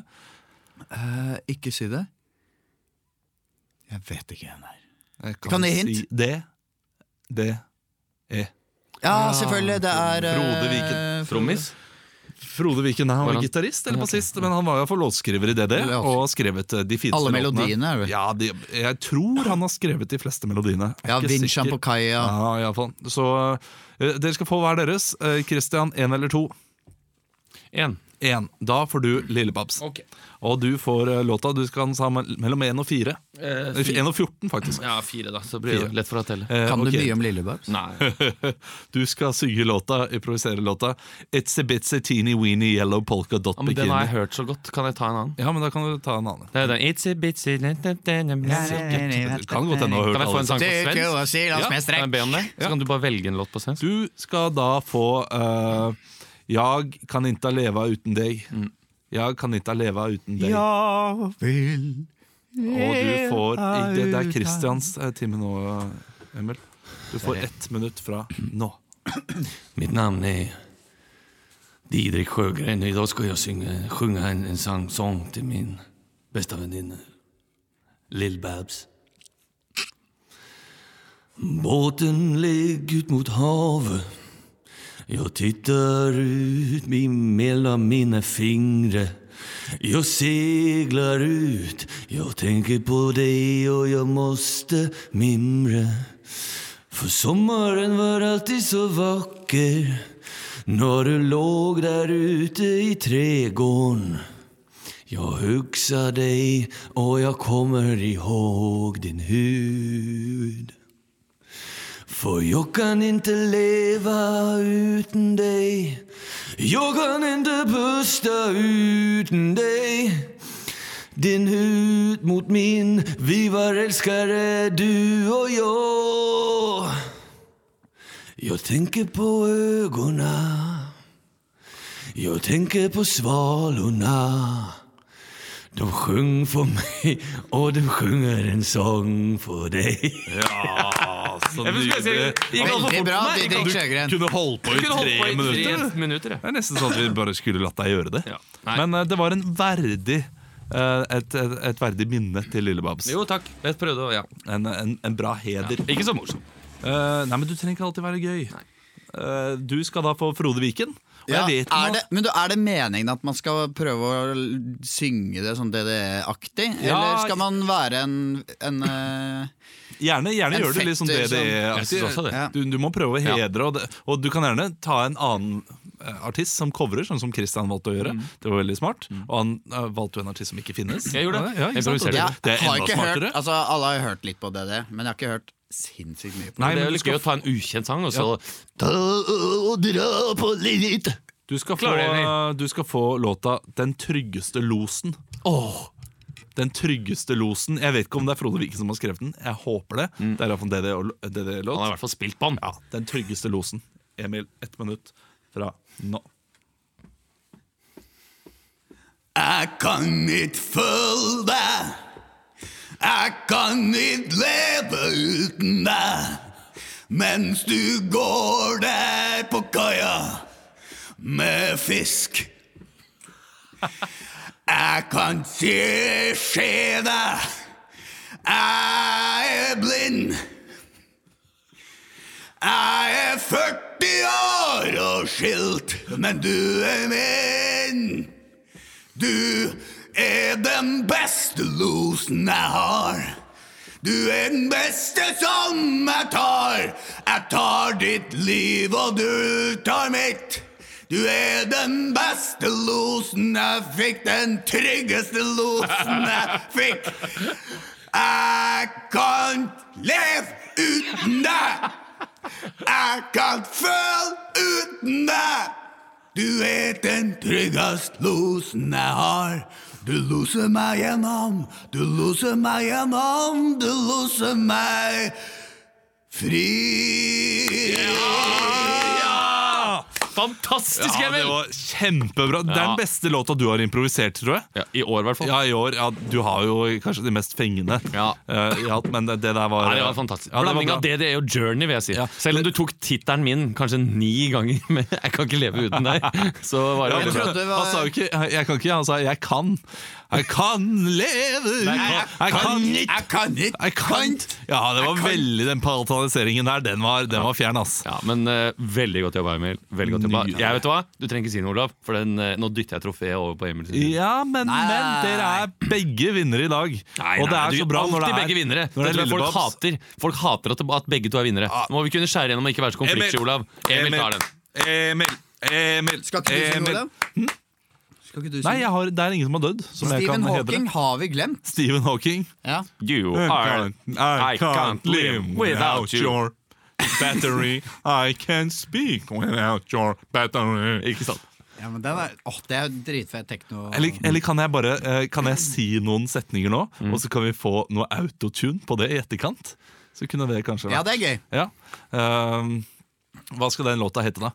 Speaker 3: Eh, ikke si det. Jeg vet ikke hvem det er.
Speaker 1: Jeg
Speaker 3: Kan jeg hint?
Speaker 1: Si det. Det.
Speaker 3: Ja, selvfølgelig. Det er eh,
Speaker 1: Frode Viken.
Speaker 2: Trommis?
Speaker 1: Frode Viken nei, han
Speaker 2: Var
Speaker 1: var
Speaker 2: han-
Speaker 1: gitarist eller
Speaker 2: Ja, ok.
Speaker 1: bassist, men han var iallfall låtskriver i DD
Speaker 3: Ja, ok.
Speaker 1: og har skrevet eh, de fineste
Speaker 3: Alle
Speaker 1: låtene.
Speaker 3: melodiene, er det vel?
Speaker 1: Ja, de, jeg tror han har skrevet de fleste melodiene. Jeg er
Speaker 3: Ja,
Speaker 1: ikke
Speaker 3: Vin
Speaker 1: sikker.
Speaker 3: Champokaya.
Speaker 1: Ja, i alle fall. Så eh, dere skal få hver deres. Eh, Christian, én eller to.
Speaker 2: Én.
Speaker 1: Én. Da får du Lillepaps.
Speaker 2: Ok.
Speaker 1: Og du får eh, låta. Du skal ha den sammen mellom 1 og 4.
Speaker 2: Eh,
Speaker 1: 1 og 14, faktisk.
Speaker 2: Ja, fire, da. Så blir det
Speaker 1: Fire.
Speaker 2: lett for å telle.
Speaker 1: Eh,
Speaker 3: Kan
Speaker 1: ok.
Speaker 3: du mye om Lillebabs?
Speaker 2: Nei.
Speaker 1: Du skal synge låta, improvisere låta. It's a bitsy teeny weeny yellow polka dot
Speaker 2: Ja, men den har jeg
Speaker 1: bikini.
Speaker 2: hørt så godt. Kan jeg ta en annen?
Speaker 1: Ja, men da kan du ta en annen.
Speaker 2: Det er den It's a bitsy Sikkert.
Speaker 1: Du kan godt hende å ha hørt
Speaker 2: Kan jeg få en
Speaker 1: alle.
Speaker 2: sang på
Speaker 3: Styrke
Speaker 2: svensk?
Speaker 3: og
Speaker 2: Ja,
Speaker 3: silas med
Speaker 2: kan jeg
Speaker 3: strekk.
Speaker 2: be om det? Så kan du bare velge en låt på svensk.
Speaker 1: Du skal da få eh, Jag kan inte leva uten deg. Jag kan inte leva uten deg.
Speaker 3: Ja vel
Speaker 1: Og du får i- Det, det er Christians eh, time nå, Emil. Du får ett minutt fra nå.
Speaker 2: Mitt namn är Didrik Sjögren. Idag ska jag synge, sjunga en, en sång, sång till min bästa väninna Lill-Babs. Båten ligger ut mot havet. Jag tittar ut mellan mina fingrar. Jag seglar ut. Jag tänker på dig och jag måste mimra. För sommaren var alltid så vacker när du låg där ute i trädgården. Jag huxar dig och jag kommer ihåg din hud. För jag kan inte leva utan dig. Jag kan inte pusta utan dig. Din hud mot min, vi var älskare du och jag. Jag tänker på ögonen. Jag tänker på svalorna. De sjöng för mig och de sjunger en sång för dig.
Speaker 1: Ja, så
Speaker 3: Veldig bra, Didrik Sjøgren.
Speaker 1: Kunne holdt på i tre minutter. Det er nesten sånn at vi bare skulle latt deg gjøre det.
Speaker 2: Ja. Nei.
Speaker 1: Men eh, det var en verdig eh, et, et, et verdig minne til Lillebabs.
Speaker 2: Jo takk, jeg prøvde å ja.
Speaker 1: En, en, en bra heder.
Speaker 2: Ikke så morsom.
Speaker 1: Eh, nei, men Du trenger ikke alltid være gøy. Eh, du skal da få Frode Viken. Og
Speaker 3: Ja,
Speaker 1: jeg vet
Speaker 3: er
Speaker 1: nå-
Speaker 3: det, men du, er det meningen at man skal prøve å l- synge det sånn DDE-aktig? Eller
Speaker 1: Ja,
Speaker 3: skal man være en, en eh,
Speaker 1: Gjerne, gjerne
Speaker 3: En
Speaker 1: gjør det litt sånn
Speaker 3: fetter som-
Speaker 2: Jeg synes også det.
Speaker 1: DDE-aktig.
Speaker 3: Ja.
Speaker 1: Du, du må prøve å
Speaker 2: Ja.
Speaker 1: hedre, og, det, og du kan gjerne ta en annen eh, artist som covrer, sånn som Christian valgte å gjøre.
Speaker 2: Mm.
Speaker 1: Det var veldig smart. Og han eh, valgte jo en artist som ikke finnes.
Speaker 2: Jeg gjorde det.
Speaker 1: Ja, ikke sant?
Speaker 2: Improviserer.
Speaker 1: Og det-
Speaker 3: Jeg
Speaker 1: Det er
Speaker 3: har
Speaker 1: enda
Speaker 3: ikke hørt
Speaker 1: smartere.
Speaker 3: altså, Alle har jo hørt litt på DDE, men jeg har ikke hørt sinnssykt mye på det.
Speaker 1: Nei,
Speaker 2: det
Speaker 1: men
Speaker 2: er
Speaker 1: du
Speaker 2: jo gøy
Speaker 1: skal,
Speaker 2: å ta en ukjent sang, og så Ta og dra på litt.
Speaker 1: du, skal få,
Speaker 2: Klarer det,
Speaker 1: du skal få låta 'Den tryggeste losen'.
Speaker 2: Åh,
Speaker 1: Den tryggeste losen Jeg vet ikke om det er Frode Viken som har skrevet den. Jeg håper det. Det er iallfall DDE-låt.
Speaker 2: Mm. han har i hvert fall spilt på den.
Speaker 1: Ja, den tryggeste losen. Emil, ett minutt fra nå.
Speaker 3: Jeg kan ikke følge deg. Jeg kan ikke leve uten deg. Mens du går der på kaia med fisk. Jeg kan ikke se deg. Jeg er blind. Jeg er 40 år og skilt, men du er min. Du er den beste losen jeg har. Du er den beste som jeg tar. Jeg tar ditt liv, og du tar mitt. Du er den beste losen jeg fikk, den tryggeste losen jeg fikk. Jeg kan leve uten deg. Jeg kan føle uten deg. Du er den tryggeste losen jeg har. Du loser meg gjennom, du loser meg gjennom, du loser meg fri.
Speaker 2: Fantastisk,
Speaker 1: Ja, det
Speaker 2: Emil!
Speaker 1: var kjempebra. Det er
Speaker 2: Ja.
Speaker 1: den beste låta du har improvisert, tror jeg.
Speaker 2: Ja, I år, i hvert fall.
Speaker 1: Ja, i år. Ja, du har jo kanskje de mest fengende.
Speaker 2: Ja.
Speaker 1: eh, i alt, men det det der var
Speaker 2: Nei, det var fantastisk.
Speaker 1: Ja, det var
Speaker 2: Blanding
Speaker 1: bra.
Speaker 2: av DDE og Journey, vil jeg si.
Speaker 1: Ja.
Speaker 2: Selv om du tok tittelen min kanskje ni ganger, men jeg kan ikke leve uten deg. Så var det
Speaker 1: Ja,
Speaker 2: veldig bra.
Speaker 1: men
Speaker 3: trodde det var-
Speaker 1: Han sa jo ikke 'jeg kan ikke', han sa 'jeg kan'. Jeg kan leve uten
Speaker 2: Nei,
Speaker 1: Jeg kan
Speaker 3: Jeg kan ikke.
Speaker 1: Jeg kan Ja, det var veldig den palataliseringen der. Den var, den var fjern, ass.
Speaker 2: Ja, men eh, Veldig godt jobba, Emil. Veldig godt jobba.
Speaker 1: Nydelig.
Speaker 2: Jeg vet du hva? Du trenger ikke si noe, Olav. For den, eh, Nå dytter jeg trofeet over på Emil. sin side.
Speaker 1: Ja, men,
Speaker 3: Nei,
Speaker 1: men
Speaker 3: nei, nei,
Speaker 1: dere er begge vinnere i dag.
Speaker 2: Nei,
Speaker 1: og det
Speaker 2: nei,
Speaker 1: er
Speaker 2: du
Speaker 1: så
Speaker 2: gir
Speaker 1: bra når det
Speaker 2: alltid
Speaker 1: er
Speaker 2: begge vinnere. Det
Speaker 1: Når det er
Speaker 2: tror jeg folk
Speaker 1: Lillebabs.
Speaker 2: hater Folk hater at, at begge to er vinnere. Nå må vi kunne skjære gjennom og ikke være så konfliktsky,
Speaker 1: Emil.
Speaker 2: Olav. Emil tar den.
Speaker 1: Emil. Emil!
Speaker 3: Skal ikke du si noe,
Speaker 1: Emil.
Speaker 3: Olav? Skal ikke du
Speaker 1: Eh, Hm?
Speaker 3: si
Speaker 1: Nei, jeg har, det er ingen som har dødd. Som jeg kan
Speaker 3: Stephen
Speaker 1: hedre.
Speaker 3: Hawking har vi glemt.
Speaker 1: Stephen Hawking.
Speaker 3: Ja.
Speaker 2: You are
Speaker 1: I can't, I
Speaker 2: I can't
Speaker 1: can't live without
Speaker 2: you.
Speaker 1: your battery. I can't speak without your battery. Ikke sant?
Speaker 3: Ja, men den er, åh, det er jo dritfett tekno.
Speaker 1: Eller, eller kan jeg bare eh, Kan jeg si noen setninger nå, og så kan vi få noe autotune på det i etterkant? Så kunne det kanskje
Speaker 3: Ja,
Speaker 1: vært
Speaker 3: det er gøy.
Speaker 1: ja. Ehm, Hva skal den låta hete, da?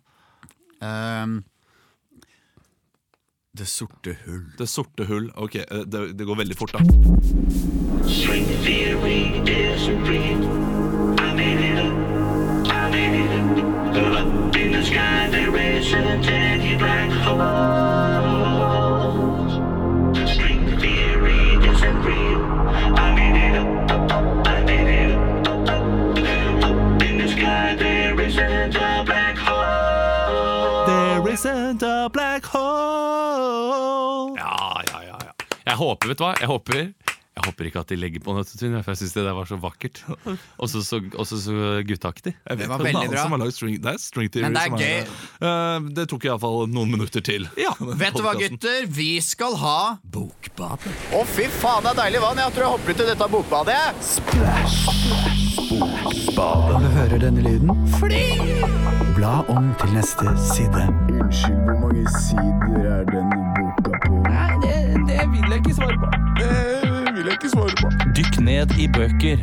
Speaker 3: Ehm, det sorte hull.
Speaker 1: Det sorte hull. Ok, eh, det, det går veldig fort, da.
Speaker 7: String theory isn't real. I made it up. I made it up. Up in the sky there is a tiny black hole. String theory isn't real. I made it up. I made it up. Up in the sky there isn't a black hole.
Speaker 1: There isn't a black hole
Speaker 2: Ja, ja, ja, ja. Jeg håper, vet du hva? Jeg håper, jeg håper ikke at de legger på noe autotune, for jeg syns det der var så vakkert. Og så så, også så gutteaktig.
Speaker 1: Jeg vet
Speaker 3: var
Speaker 1: hvem
Speaker 3: veldig
Speaker 1: annen
Speaker 3: bra.
Speaker 1: Som har lagd string, det er string theory
Speaker 3: Men det er
Speaker 1: som Eh, det tok iallfall noen minutter til. Denne
Speaker 3: Vet du hva,
Speaker 1: podcasten.
Speaker 3: gutter? Vi skal ha Bokbadet.
Speaker 8: Å, fy faen, det er deilig vann. Jeg tror jeg hopper ut i dette bokbadet. jeg.
Speaker 3: Når du hører denne lyden, fly! Bla om til neste side.
Speaker 5: Dykk ned i bøker.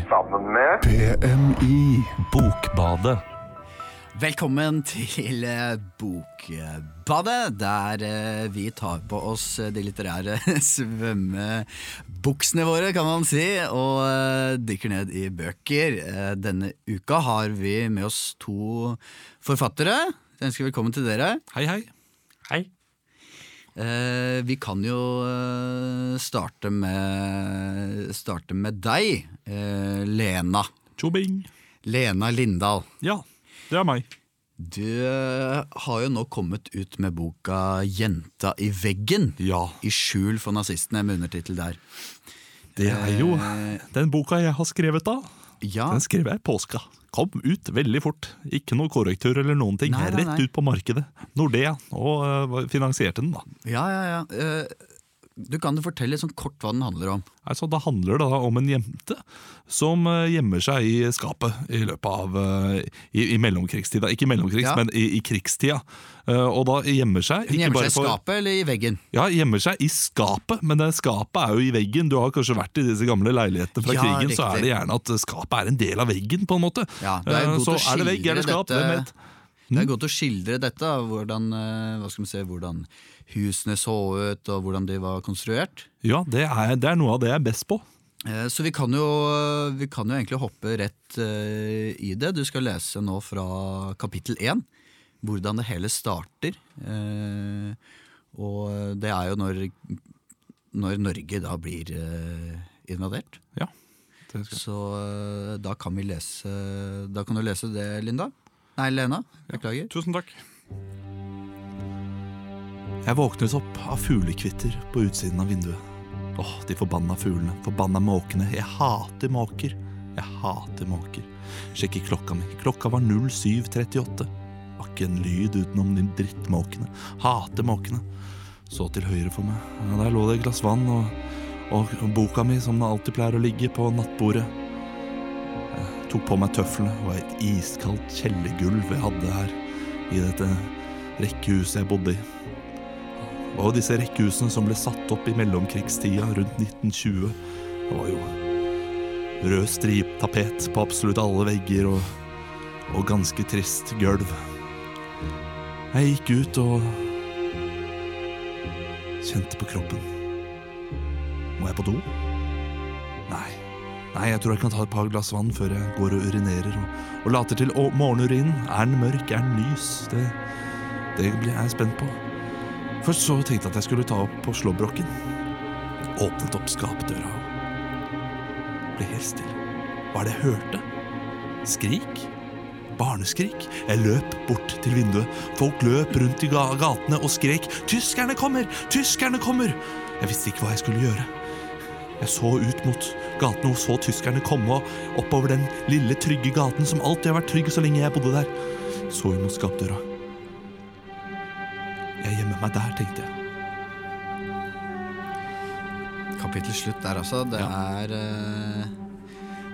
Speaker 3: Velkommen til eh, Bokbadet, der eh, vi tar på oss eh, de litterære svømmebuksene våre, kan man si, og eh, dykker ned i bøker. Eh, Denne uka har vi med oss to forfattere. Jeg ønsker velkommen til dere.
Speaker 1: Hei, hei.
Speaker 2: Hei.
Speaker 3: Eh, Vi kan jo eh, starte med, starte med deg, eh, Lena.
Speaker 1: Tjobing.
Speaker 3: Lena Lindahl.
Speaker 1: Ja, det er meg.
Speaker 3: Du eh, har jo nå kommet ut med boka 'Jenta i veggen'.
Speaker 1: Ja.
Speaker 3: I skjul for nazistene, med undertittel der.
Speaker 1: Det er jo
Speaker 3: Eh.
Speaker 1: den boka jeg har skrevet da.
Speaker 3: Ja,
Speaker 1: Den skrev jeg i påska. Kom ut veldig fort. Ikke noe korrektur eller noen ting.
Speaker 3: Nei, nei,
Speaker 1: Rett
Speaker 3: nei.
Speaker 1: ut på markedet. Nordea. Og eh, finansierte den, da.
Speaker 3: ja, ja. ja. Eh, Du kan jo fortelle litt sånn kort hva den handler om.
Speaker 1: Altså, det handler da om en jente som eh, gjemmer seg i skapet i løpet av eh, i, i mellomkrigstida. Ikke i mellomkrigs,
Speaker 3: Ja.
Speaker 1: men i, i krigstida. Eh, Og da gjemmer seg
Speaker 3: Hun
Speaker 1: ikke
Speaker 3: gjemmer
Speaker 1: bare
Speaker 3: seg i
Speaker 1: for-
Speaker 3: skapet eller i veggen?
Speaker 1: Ja, gjemmer seg i skapet, men det skapet er jo i veggen. Du har kanskje vært i disse gamle leilighetene fra
Speaker 3: Ja,
Speaker 1: krigen, så
Speaker 3: riktig.
Speaker 1: er det gjerne at skapet er en del av veggen, på en måte.
Speaker 3: Ja, du er
Speaker 1: Eh,
Speaker 3: god til
Speaker 1: så
Speaker 3: å
Speaker 1: er det vegg
Speaker 3: skildre
Speaker 1: eller skap,
Speaker 3: dette-
Speaker 1: hvem vet.
Speaker 3: Det er
Speaker 1: Mm.
Speaker 3: godt å skildre dette, da, hvordan, eh, hva skal man si, hvordan husene så ut, og hvordan de var konstruert.
Speaker 1: Ja, det er, det er noe av det jeg er best på.
Speaker 3: Eh, Så vi kan jo, vi kan jo egentlig hoppe rett eh, i det. Du skal lese nå fra kapittel én, hvordan det hele starter. Eh, og det er jo når, når Norge da blir eh, invadert.
Speaker 1: Ja.
Speaker 3: Så eh, da kan vi lese Da kan du lese det, Linda. Nei, Lena. Beklager.
Speaker 1: Tusen takk. Jeg våknet opp av fuglekvitter på utsiden av vinduet. Åh, de forbanna fuglene, forbanna måkene. Jeg hater måker. Jeg hater måker. Sjekker klokka mi. Klokka var 07.38. Var ikke en lyd utenom de drittmåkene. Hater måkene. Så til høyre for meg. Ja, der lå det et glass vann og, og boka mi, som den alltid pleier å ligge, på nattbordet tok på meg tøflene og et iskaldt kjellergulv jeg hadde her i dette rekkehuset jeg bodde i. Det var jo disse rekkehusene som ble satt opp i mellomkrigstida rundt 1920. Det var jo rød striptapet på absolutt alle vegger og, og ganske trist gulv. Jeg gikk ut og kjente på kroppen. Må jeg på do? Nei. Nei, jeg tror jeg kan ta et par glass vann før jeg går og urinerer og, og later til. Og morgenurinen, er den mørk, er den lys? Det, det blir jeg spent på. Først så tenkte jeg at jeg skulle ta opp på slåbroken. Åpnet opp skapdøra og ble helt stille. Hva er det jeg hørte? Skrik? Barneskrik? Jeg løp bort til vinduet. Folk løp rundt i ga- gatene og skrek 'Tyskerne kommer! Tyskerne kommer!' Jeg visste ikke hva jeg skulle gjøre. Jeg så ut mot gaten og så tyskerne komme oppover den lille, trygge gaten som alltid har vært trygg så lenge jeg bodde der. Så hun mot skapdøra. meg der, tenkte jeg.
Speaker 3: Kapittel slutt der, altså. Det er eh,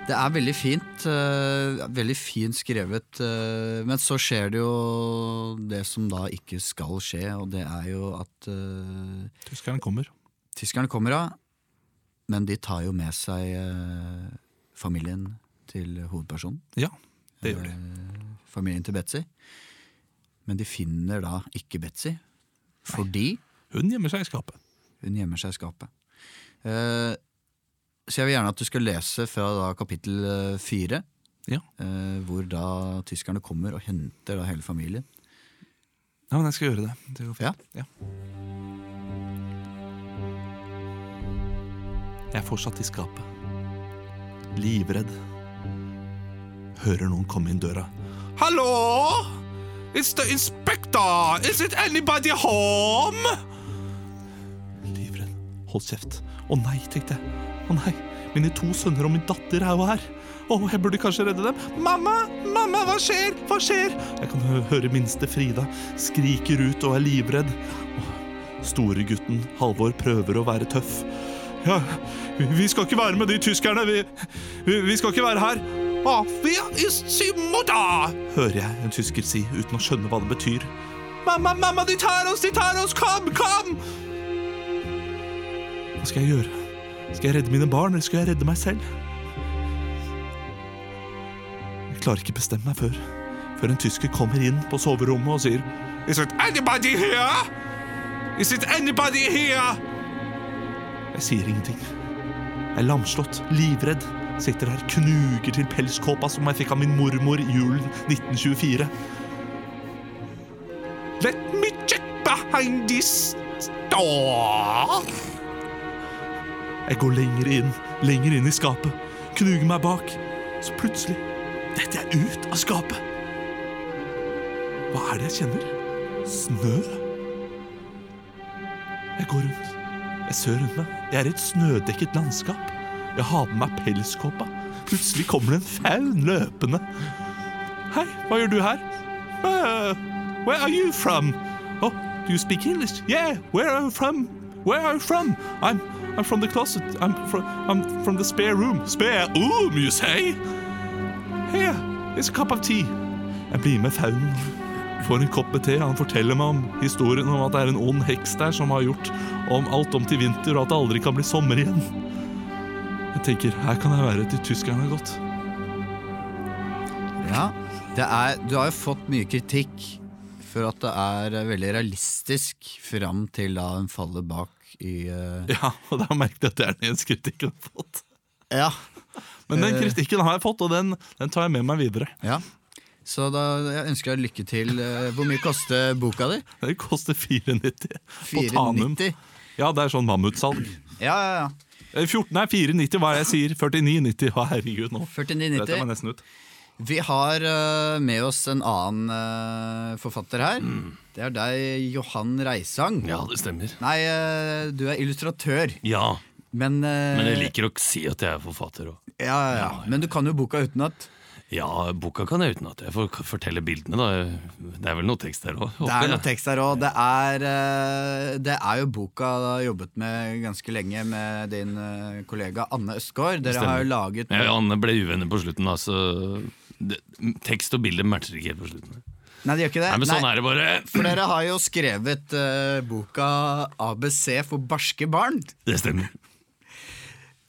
Speaker 3: Det er veldig fint. eh, veldig fint skrevet. eh, men så skjer det jo det som da ikke skal skje, og det er jo at eh,
Speaker 1: Tyskeren kommer.
Speaker 3: tyskerne kommer av, men de tar jo med seg eh, familien til hovedpersonen. eh,
Speaker 1: Ja, det gjør de.
Speaker 3: Familien til Betzy. Men de finner da ikke Betzy, fordi
Speaker 1: Hun gjemmer seg i skapet.
Speaker 3: hun gjemmer seg i skapet. Eh, så jeg vil gjerne at du skal lese fra da kapittel eh, fire,
Speaker 1: Ja.
Speaker 3: eh, hvor da tyskerne kommer og henter da hele familien.
Speaker 1: Ja, men jeg skal gjøre det. det går fint.
Speaker 3: Ja.
Speaker 1: Jeg er fortsatt i skapet. Livredd. Hører noen komme inn døra. Hallo? It's the inspector! Is it anybody home? Livredd. Hold kjeft. Å nei, tenkte jeg. Å nei, mine to sønner og min datter er jo her. Å, jeg burde kanskje redde dem. Mamma! Mamma, hva skjer? Hva skjer? Jeg kan hø- høre minste Frida skriker ut og er livredd. Storegutten Halvor prøver å være tøff. Ja, vi- vi skal ikke være med de tyskerne. Vi, vi, vi skal ikke være her. Afia is simota, hører jeg en tysker si uten å skjønne hva det betyr. Mamma, mamma, de tar oss, de tar oss! Kom, kom! Hva skal jeg gjøre? Skal jeg redde mine barn, eller skal jeg redde meg selv? Jeg klarer ikke bestemme meg før, før en tysker kommer inn på soverommet og sier Is it anybody here? Is it anybody here? Jeg sier ingenting. Jeg er lamslått, livredd. Sitter her, knuger til pelskåpa som jeg fikk av min mormor i julen 1924. Let me check behind this door. Jeg går lenger inn, lenger inn i skapet. Knuger meg bak. Så plutselig detter jeg ut av skapet. Hva er det jeg kjenner? Snø? Jeg går rundt. Jeg ser rundt meg. Jeg er i et snødekket landskap. Jeg har med meg pelskåpa. Plutselig kommer det en faun løpende. Hei, hva gjør du her? «Eh, where are you from? Oh, do you speak English? Yeah, where are you from? Where are you from? I'm, I'm from the closet. I'm from, I'm from the spare room. Spare room, you say? Here, it's a cup of tea. Jeg blir med faunen får en kopp med te. Han forteller meg om historien om at det er en ond heks der som har gjort om alt om til vinter, og at det aldri kan bli sommer igjen. Jeg tenker, her kan jeg være til tyskerne har gått.
Speaker 3: Ja, det er, Du har jo fått mye kritikk for at det er eh, veldig realistisk fram til da hun faller bak i eh,
Speaker 1: Ja, og da merket jeg at det er den eneste kritikken jeg har fått.
Speaker 3: Ja.
Speaker 1: Men den kritikken har jeg fått, og den, den tar jeg med meg videre.
Speaker 3: ja. Så da jeg ønsker jeg lykke til. eh, Hvor mye koster boka di?
Speaker 1: Det koster 4,90 på Tanum.
Speaker 3: 490?
Speaker 1: Ja, det er sånn mammutsalg.
Speaker 3: Ja, ja, ja.
Speaker 1: Eh, 14, nei, 4,90, hva er det jeg sier? 49,90. Å, herregud, nå. Dette var
Speaker 3: 49,90.
Speaker 1: nesten ut.
Speaker 3: Vi har eh, med oss en annen eh, forfatter her. Det er deg, Johan Reisang.
Speaker 2: Mm. Ja, det stemmer.
Speaker 3: Nei, eh, du er illustratør,
Speaker 2: Ja,
Speaker 3: men eh,
Speaker 2: men jeg liker å si at jeg er forfatter òg.
Speaker 3: ja, ja, ja. Men du kan jo boka utenat.
Speaker 2: Ja, boka kan jeg utenat. Jeg får fortelle bildene, da. Det er vel noe tekst der òg?
Speaker 3: Det er noe tekst her òg. Det, er, eh, det er jo boka du har jobbet med ganske lenge med din eh, kollega Anne Østgaard. Dere har jo laget
Speaker 2: Ja, Anne ble uvenner på slutten, da, så det, tekst og bilde matcher ikke helt på slutten.
Speaker 3: Nei, de gjør ikke det.
Speaker 2: Nei, men sånn er det bare.
Speaker 3: For dere har jo skrevet eh, boka ABC for barske barn,
Speaker 2: Det stemmer.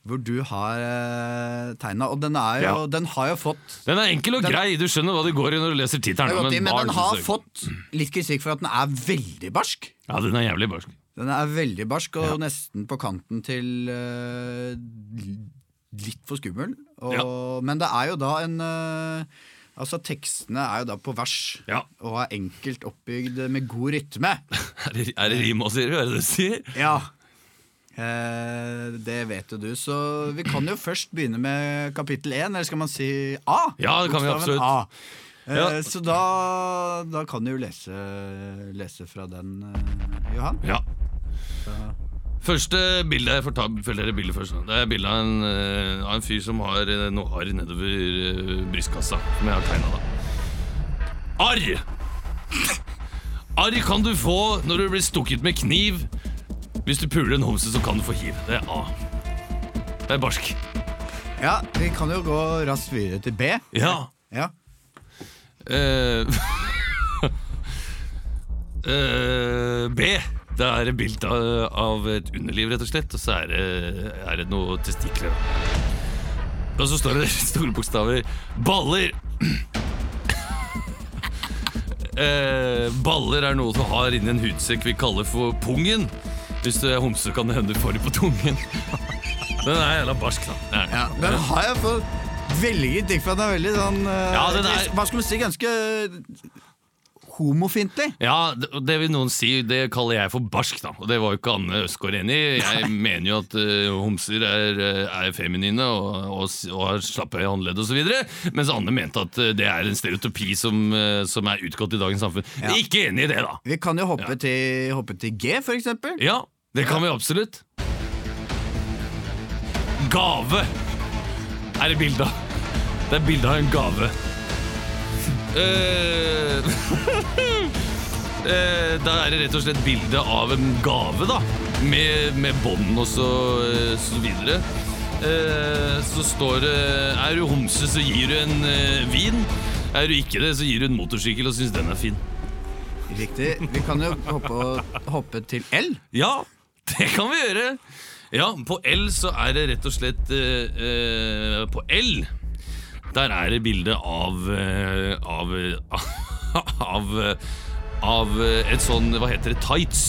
Speaker 3: hvor du har uh, tegna. Og den, er jo,
Speaker 2: Ja.
Speaker 3: den har jo fått
Speaker 2: Den er enkel og
Speaker 3: Den-
Speaker 2: grei. Du skjønner hva det går i når du leser
Speaker 3: det
Speaker 2: tittelen.
Speaker 3: er godt i,
Speaker 2: men
Speaker 3: Men
Speaker 2: barn
Speaker 3: den har
Speaker 2: forsøker.
Speaker 3: fått litt kritikk for at den er veldig barsk.
Speaker 2: Ja, den er jævlig barsk.
Speaker 3: Den er veldig barsk og nesten på kanten til eh, litt for skummel. Og, Men det er jo da en eh, Altså, tekstene er jo da på vers
Speaker 2: Ja.
Speaker 3: og er enkelt oppbygd med god rytme.
Speaker 2: Er det, er det rim og sier? Er det det du sier?
Speaker 3: Ja. Eh, det vet jo du, så vi kan jo først begynne med kapittel én. Eller skal man si A?
Speaker 2: Ja, det kan vi
Speaker 3: Bokstaven
Speaker 2: absolutt.
Speaker 3: A. Eh,
Speaker 2: Ja.
Speaker 3: Så da, da kan du jo lese, lese fra den, eh, Johan.
Speaker 2: Ja. Første bilde jeg får ta følg dere bildet først. da. Det er bilde av, en, eh, av en fyr som har eh, noe arr nedover eh, brystkassa, som jeg har tegna, da. Arr! Arr kan du få når du blir stukket med kniv. Hvis du puler en homse, så kan du få hiv. Det er A. Det er barsk.
Speaker 3: Ja, vi kan jo gå raskt videre til B.
Speaker 2: Ja.
Speaker 3: Ja.
Speaker 2: Eh, eh, B. Det er et bilde av, av et underliv, rett og slett, og så er det, er det noe testikler. Og så står det i store bokstaver 'baller'. Eh, baller er noe du har inni en hudsekk vi kaller for pungen. Hvis du er homse, kan det hende du får det på tungen. Den er jævla barsk, da. Det er den.
Speaker 3: Ja, den har jeg fått veldig kritikk for. at Den er veldig sånn eh,
Speaker 2: Ja, den er-
Speaker 3: Hva skal man si? Ganske homofientlig.
Speaker 2: Ja, det, og det vil noen si, det kaller jeg for barsk, da. Og det var jo ikke Anne Østgaard enig i. Jeg mener jo at eh, homser er, eh, er feminine og, og, s- og har slappe i håndledd osv. Mens Anne mente at eh, det er en stereotypi som, eh, som er utgått i dagens samfunn. Vi er Ikke enig i det, da.
Speaker 3: Vi kan jo hoppe, til, hoppe til G, for eksempel.
Speaker 2: Ja, det kan vi absolutt. Gave er det bilde av. Det er bilde av en gave. Eh, eh, Da er det rett og slett bilde av en gave, da. Med, med bånd og så, så videre. Eh, Så står det Er du homse, så gir du en eh, vin. Er du ikke det, så gir du en motorsykkel og syns den er fin.
Speaker 3: Riktig. Vi kan jo hoppe, hoppe til L.
Speaker 2: Ja, det kan vi gjøre. Ja, på L så er det rett og slett eh, eh, På L der er det bilde av eh, av, av av et sånn Hva heter det? Tights.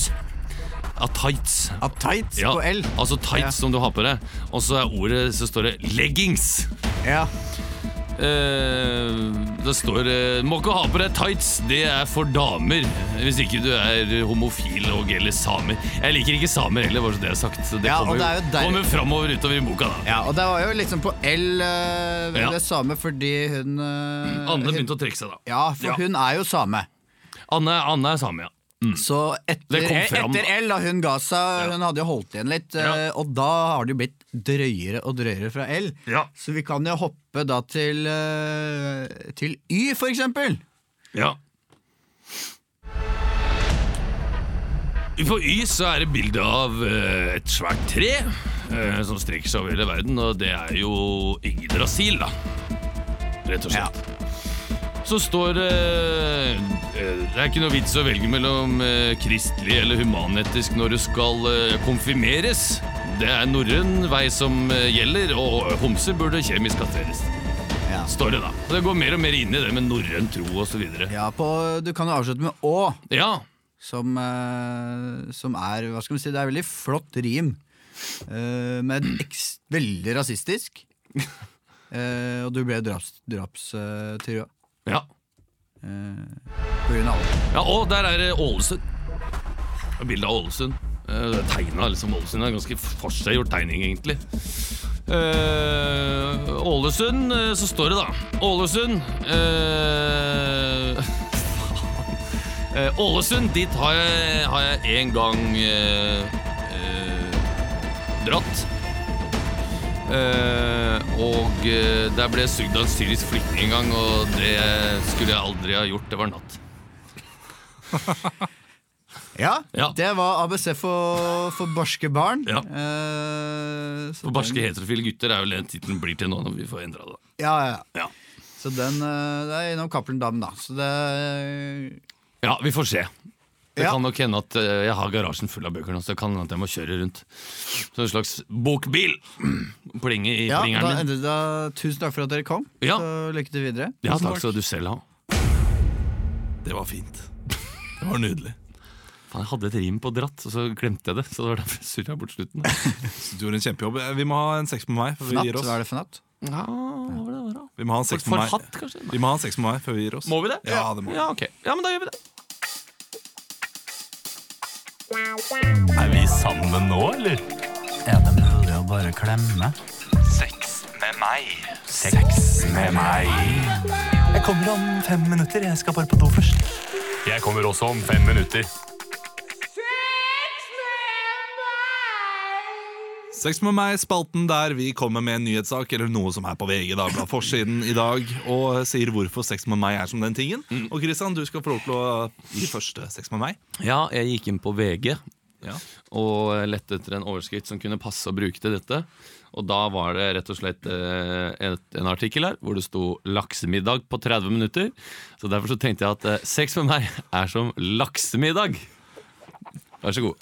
Speaker 2: Av tights.
Speaker 3: Av tights
Speaker 2: Ja,
Speaker 3: på L.
Speaker 2: altså tights
Speaker 3: Ja.
Speaker 2: som du har på deg. Og så er ordet så står det leggings.
Speaker 3: Ja.
Speaker 2: Eh, det står eh, 'må ikke ha på deg tights', det er for damer. Hvis ikke du er homofil og eller samer. Jeg liker ikke samer heller, bare så det er sagt. Så det
Speaker 3: Ja, og
Speaker 2: kommer,
Speaker 3: det er jo der-
Speaker 2: kommer framover utover i boka, da.
Speaker 3: ja, og det var jo liksom på L eh,
Speaker 2: Ja. Mm,
Speaker 3: det same fordi hun eh,
Speaker 2: Anne
Speaker 3: hun,
Speaker 2: begynte å trekke seg, da.
Speaker 3: Ja, for
Speaker 2: Ja.
Speaker 3: hun er jo same.
Speaker 2: Anne, Anne er same, ja.
Speaker 3: Så etter, eh,
Speaker 2: Det kom fram,
Speaker 3: etter L, da hun ga seg, hun hadde jo holdt igjen litt, eh, og da har det jo blitt drøyere og drøyere fra L.
Speaker 2: Ja.
Speaker 3: Så vi kan jo hoppe da til, eh, til Y, for eksempel.
Speaker 2: Ja. På Y så er det bilde av eh, et svært tre eh, som strekker seg over hele verden, og det er jo Yggdrasil, da. Rett og slett. Så står det eh, Det er ikke noe vits å velge mellom eh, kristelig eller humanetisk når du skal eh, konfirmeres. Det er norrøn vei som eh, gjelder, og homser burde kjemisk katteres.
Speaker 3: Ja.
Speaker 2: Står det, da. Så det går mer og mer inn i det med norrøn tro osv.
Speaker 3: Ja, på, du kan jo avslutte med Å,
Speaker 2: Ja,
Speaker 3: som, eh, som er Hva skal vi si, det er veldig flott rim, eh, men eks, veldig rasistisk. Eh, og du ble draps, drapstrua
Speaker 2: ja.
Speaker 3: på grunn av det.
Speaker 2: ja og der er det Ålesund. Det er Bildet av Ålesund. Eh, Det er tegna liksom Ålesund. Det er en ganske forseggjort tegning, egentlig. Eh, Ålesund, eh, så står det, da. Ålesund eh, faen. Eh, Ålesund, dit har jeg, har jeg en gang eh, eh, dratt. Eh, og eh, der ble jeg sugd av en syrisk flyktning en gang, og det skulle jeg aldri ha gjort. Det var natt.
Speaker 3: Ja,
Speaker 2: Ja.
Speaker 3: Det var ABC for, for barske barn.
Speaker 2: Ja.
Speaker 3: Eh, så
Speaker 2: For barske heterofile gutter er vel det tittelen blir til nå når vi får endra det.
Speaker 3: den- Ja, ja, ja.
Speaker 2: Ja.
Speaker 3: Så den eh, Det er innom Cappelen Dam, da. Så det
Speaker 2: Ja, vi får se. Det
Speaker 3: Ja.
Speaker 2: kan nok hende at eh, jeg har garasjen full av bøker nå, så det kan hende at jeg må kjøre rundt. Så en slags bokbil! Plinge i
Speaker 3: Ja, da,
Speaker 2: plingeren min.
Speaker 3: endret det. tusen takk for at dere kom.
Speaker 2: Ja.
Speaker 3: Så lykke til videre.
Speaker 2: Ja, takk skal du selv ha.
Speaker 1: Det var fint. Det var nydelig.
Speaker 2: Faen, jeg hadde et rim på dratt, og så glemte jeg det. Så det var derfor jeg surra bort slutten.
Speaker 1: Så Du gjorde en kjempejobb. Eh, Vi må ha en seks på meg før vi
Speaker 3: Fnatt,
Speaker 1: gir oss.
Speaker 3: hva er det for natt?
Speaker 2: Ja, hva var det, hva var det?
Speaker 1: Vi må ha en seks på
Speaker 2: For
Speaker 1: meg.
Speaker 2: hatt, kanskje? Nei.
Speaker 1: Vi må ha en seks på meg før vi gir oss.
Speaker 2: Må vi det?
Speaker 1: Ja, det må vi.
Speaker 2: Ja, ok. Ja, men da gjør vi det.
Speaker 1: Er vi sammen nå, eller?
Speaker 9: Jeg kommer også om fem minutter.
Speaker 1: Sex med meg, spalten der vi kommer med en nyhetssak eller noe som er på VG, da, på forsiden i dag, og sier hvorfor sex med meg er som den tingen. Og Christian, du skal få lov til å gi første sex med meg.
Speaker 2: Ja, jeg gikk inn på VG
Speaker 1: Ja.
Speaker 2: og lette etter en overskrift som kunne passe å bruke til dette. Og da var det rett og slett eh, et, en artikkel her hvor det sto 'laksemiddag på 30 minutter'. Så derfor så tenkte jeg at eh, sex med meg er som laksemiddag. Vær så god.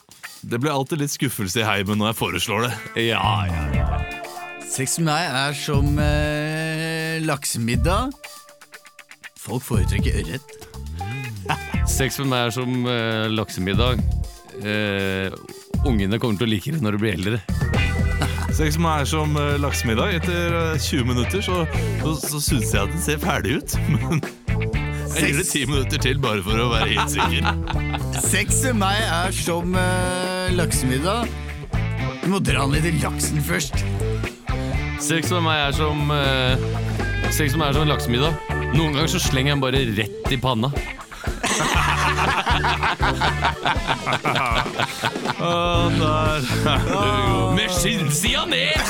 Speaker 1: Det blir alltid litt skuffelse i heimen når jeg foreslår det.
Speaker 2: Ja, ja.
Speaker 3: Sex med meg er som eh, laksemiddag. Folk foretrekker ørret.
Speaker 2: Sex med meg er som eh, laksemiddag. Eh, ungene kommer til å like det når de blir eldre.
Speaker 1: Sex med meg er som eh, laksemiddag. Etter eh, 20 minutter så, så, så syns jeg at den ser ferdig ut, men jeg gir det 10 minutter til bare for å være helt sikker.
Speaker 3: Sex med meg er som eh, laksemiddag. Du må dra ned i laksen først.
Speaker 2: Sex med meg er som eh, Sex med meg er som laksemiddag. Noen ganger så slenger jeg den bare rett i panna.
Speaker 1: Å, der er du god.
Speaker 2: Med skinnsida ned!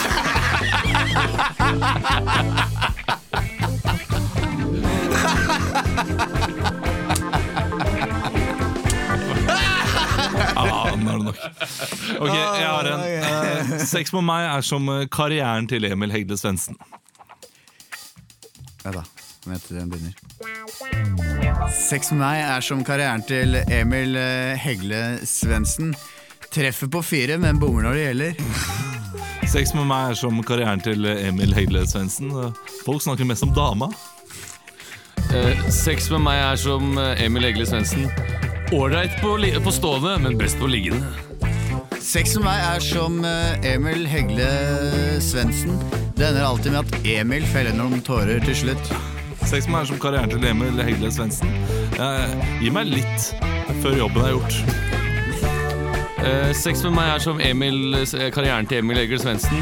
Speaker 1: Ja, den er det nok. Ok, jeg har en. Eh, sex med meg er som eh, karrieren til Emil Hegle Svendsen.
Speaker 3: Ja da, vent til den begynner. Sex med meg er som karrieren til Emil eh, Hegle Svendsen. Treffer på fire, men bommer når det gjelder.
Speaker 1: Sex med meg er som karrieren til eh, Emil Hegle Svendsen. Eh, Folk snakker mest om dama.
Speaker 2: Eh, sex med meg er som eh, Emil Egle Svendsen. Ålreit på, li- på stående, men best på liggende.
Speaker 3: Sex med meg er som eh, Emil Hegle Svendsen. Det ender alltid med at Emil feller noen tårer til slutt.
Speaker 1: Sex med meg er som karrieren til Emil Hegle Svendsen. Eh, gi meg litt før jobben er gjort.
Speaker 2: Eh, sex med meg er som Emil, eh, karrieren til Emil Egil Svendsen.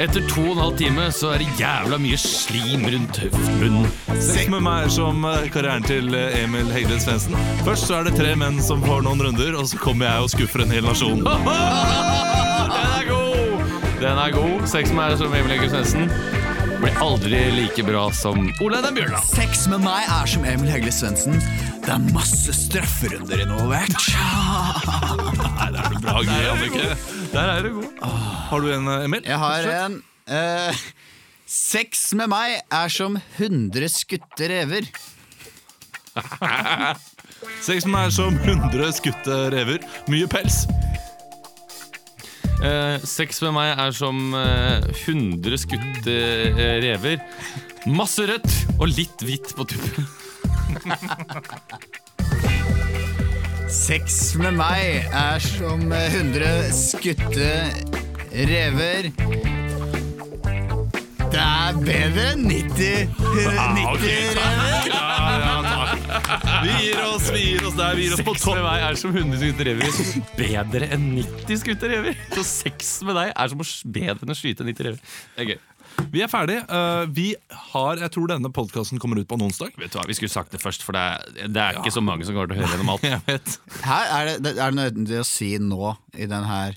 Speaker 2: Etter to og en halv time så er det jævla mye slim rundt høftbunnen.
Speaker 1: Sex med meg er som eh, karrieren til eh, Emil Hegle Svendsen. Først så er det tre menn som får noen runder, og så kommer jeg og skuffer en hel nasjon.
Speaker 2: Den er god! Den er god. Sex med meg er som Emil Egil Svendsen. Blir aldri like bra som Olaug den Bjørndal.
Speaker 3: Sex med meg er som Emil Hegle Svendsen. Det er masse strafferunder involvert.
Speaker 1: Bra, gøy, Annike. Der er du god. Har du en, eh, Emil?
Speaker 3: Jeg har en eh, Sex med meg er som 100 skutte rever.
Speaker 1: Sex med meg er som 100 skutte rever. Mye pels.
Speaker 2: Eh, sex med meg er som eh, 100 skutte eh, rever. Masse rødt og litt hvitt på tuppen.
Speaker 3: Sex med meg er som eh, 100 skutte rever. Det er bedre enn 90, 90 rever.
Speaker 1: Vi gir oss, vi gir oss der. Vi gir oss på
Speaker 2: Sex med
Speaker 1: topp.
Speaker 2: meg er som 100 skutte rever. Bedre enn 90 skutte rever. Så sex med deg er som å sk- bedre enn å skyte 90 rever. Det er gøy.
Speaker 1: Vi er ferdig. Eh, vi har, Jeg tror denne podkasten kommer ut på en onsdag.
Speaker 2: Vet du hva, Vi skulle sagt det først, for det er, det er ikke så mange som kommer til å høre gjennom alt.
Speaker 1: Jeg vet.
Speaker 3: Her er det, det er nødvendig å si nå i den her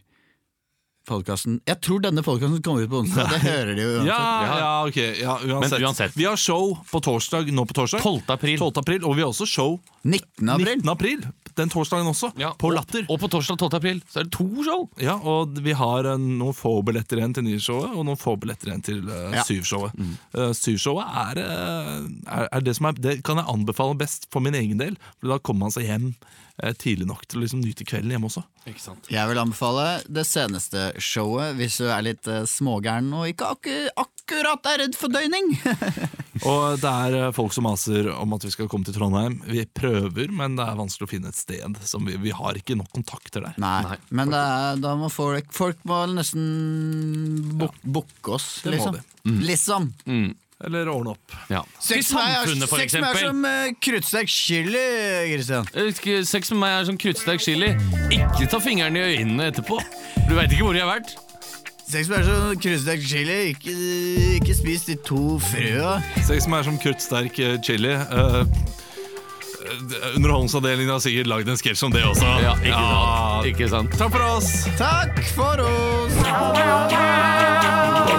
Speaker 3: podkasten Jeg tror denne podkasten kommer ut på onsdag. Det hører de jo uansett.
Speaker 1: Ja, ja, ok. Ja, uansett.
Speaker 2: Men uansett.
Speaker 1: Vi har show på torsdag nå på torsdag.
Speaker 2: 12. april.
Speaker 1: 12. april. Og vi har også show
Speaker 3: 19. april.
Speaker 1: 19. april. Den torsdagen også.
Speaker 2: Ja,
Speaker 1: På
Speaker 2: og-
Speaker 1: Latter.
Speaker 2: Og på torsdag 12. april så er det to show!
Speaker 1: Ja, og vi har eh, noen få billetter igjen til nyshowet, og noen få billetter igjen til eh,
Speaker 3: Ja. Mm.
Speaker 1: syvshowet. Eh, syvshowet er, eh, er, er det som er Det kan jeg anbefale best for min egen del, for da kommer man seg hjem eh, tidlig nok til å liksom nyte kvelden hjemme også.
Speaker 3: Jeg vil anbefale det seneste showet hvis du er litt eh, smågæren og ikke akku- akkurat er redd for døgning.
Speaker 1: Og det er eh, folk som maser om at vi skal komme til Trondheim. Vi prøver, men det er vanskelig å finne et sted. Som vi, vi har ikke nok kontakter der.
Speaker 3: Nei, men det er, da må folk Folk må nesten buk- booke oss,
Speaker 1: Det må
Speaker 3: liksom. Liksom.
Speaker 1: Eller ordne opp.
Speaker 2: Ja.
Speaker 3: Sex med meg
Speaker 2: samfunnet,
Speaker 3: er-
Speaker 2: for
Speaker 3: sex med meg er
Speaker 2: eksempel.
Speaker 3: som eh, kruttsterk chili, Christian.
Speaker 2: Jeg husker, Sex med meg er som kruttsterk chili. Ikke ta fingeren i øynene etterpå. Du veit ikke hvor de har vært.
Speaker 3: Sex med meg er som kruttsterk chili. Ikke, ikke spis de to frøa.
Speaker 1: Sex som er som kruttsterk eh, chili. eh, eh, Underholdningsavdelingen har sikkert lagd en sketsj om det også.
Speaker 2: Ja, ikke sant. Ikke sant.
Speaker 1: Takk for oss!
Speaker 3: Takk for oss!
Speaker 7: Time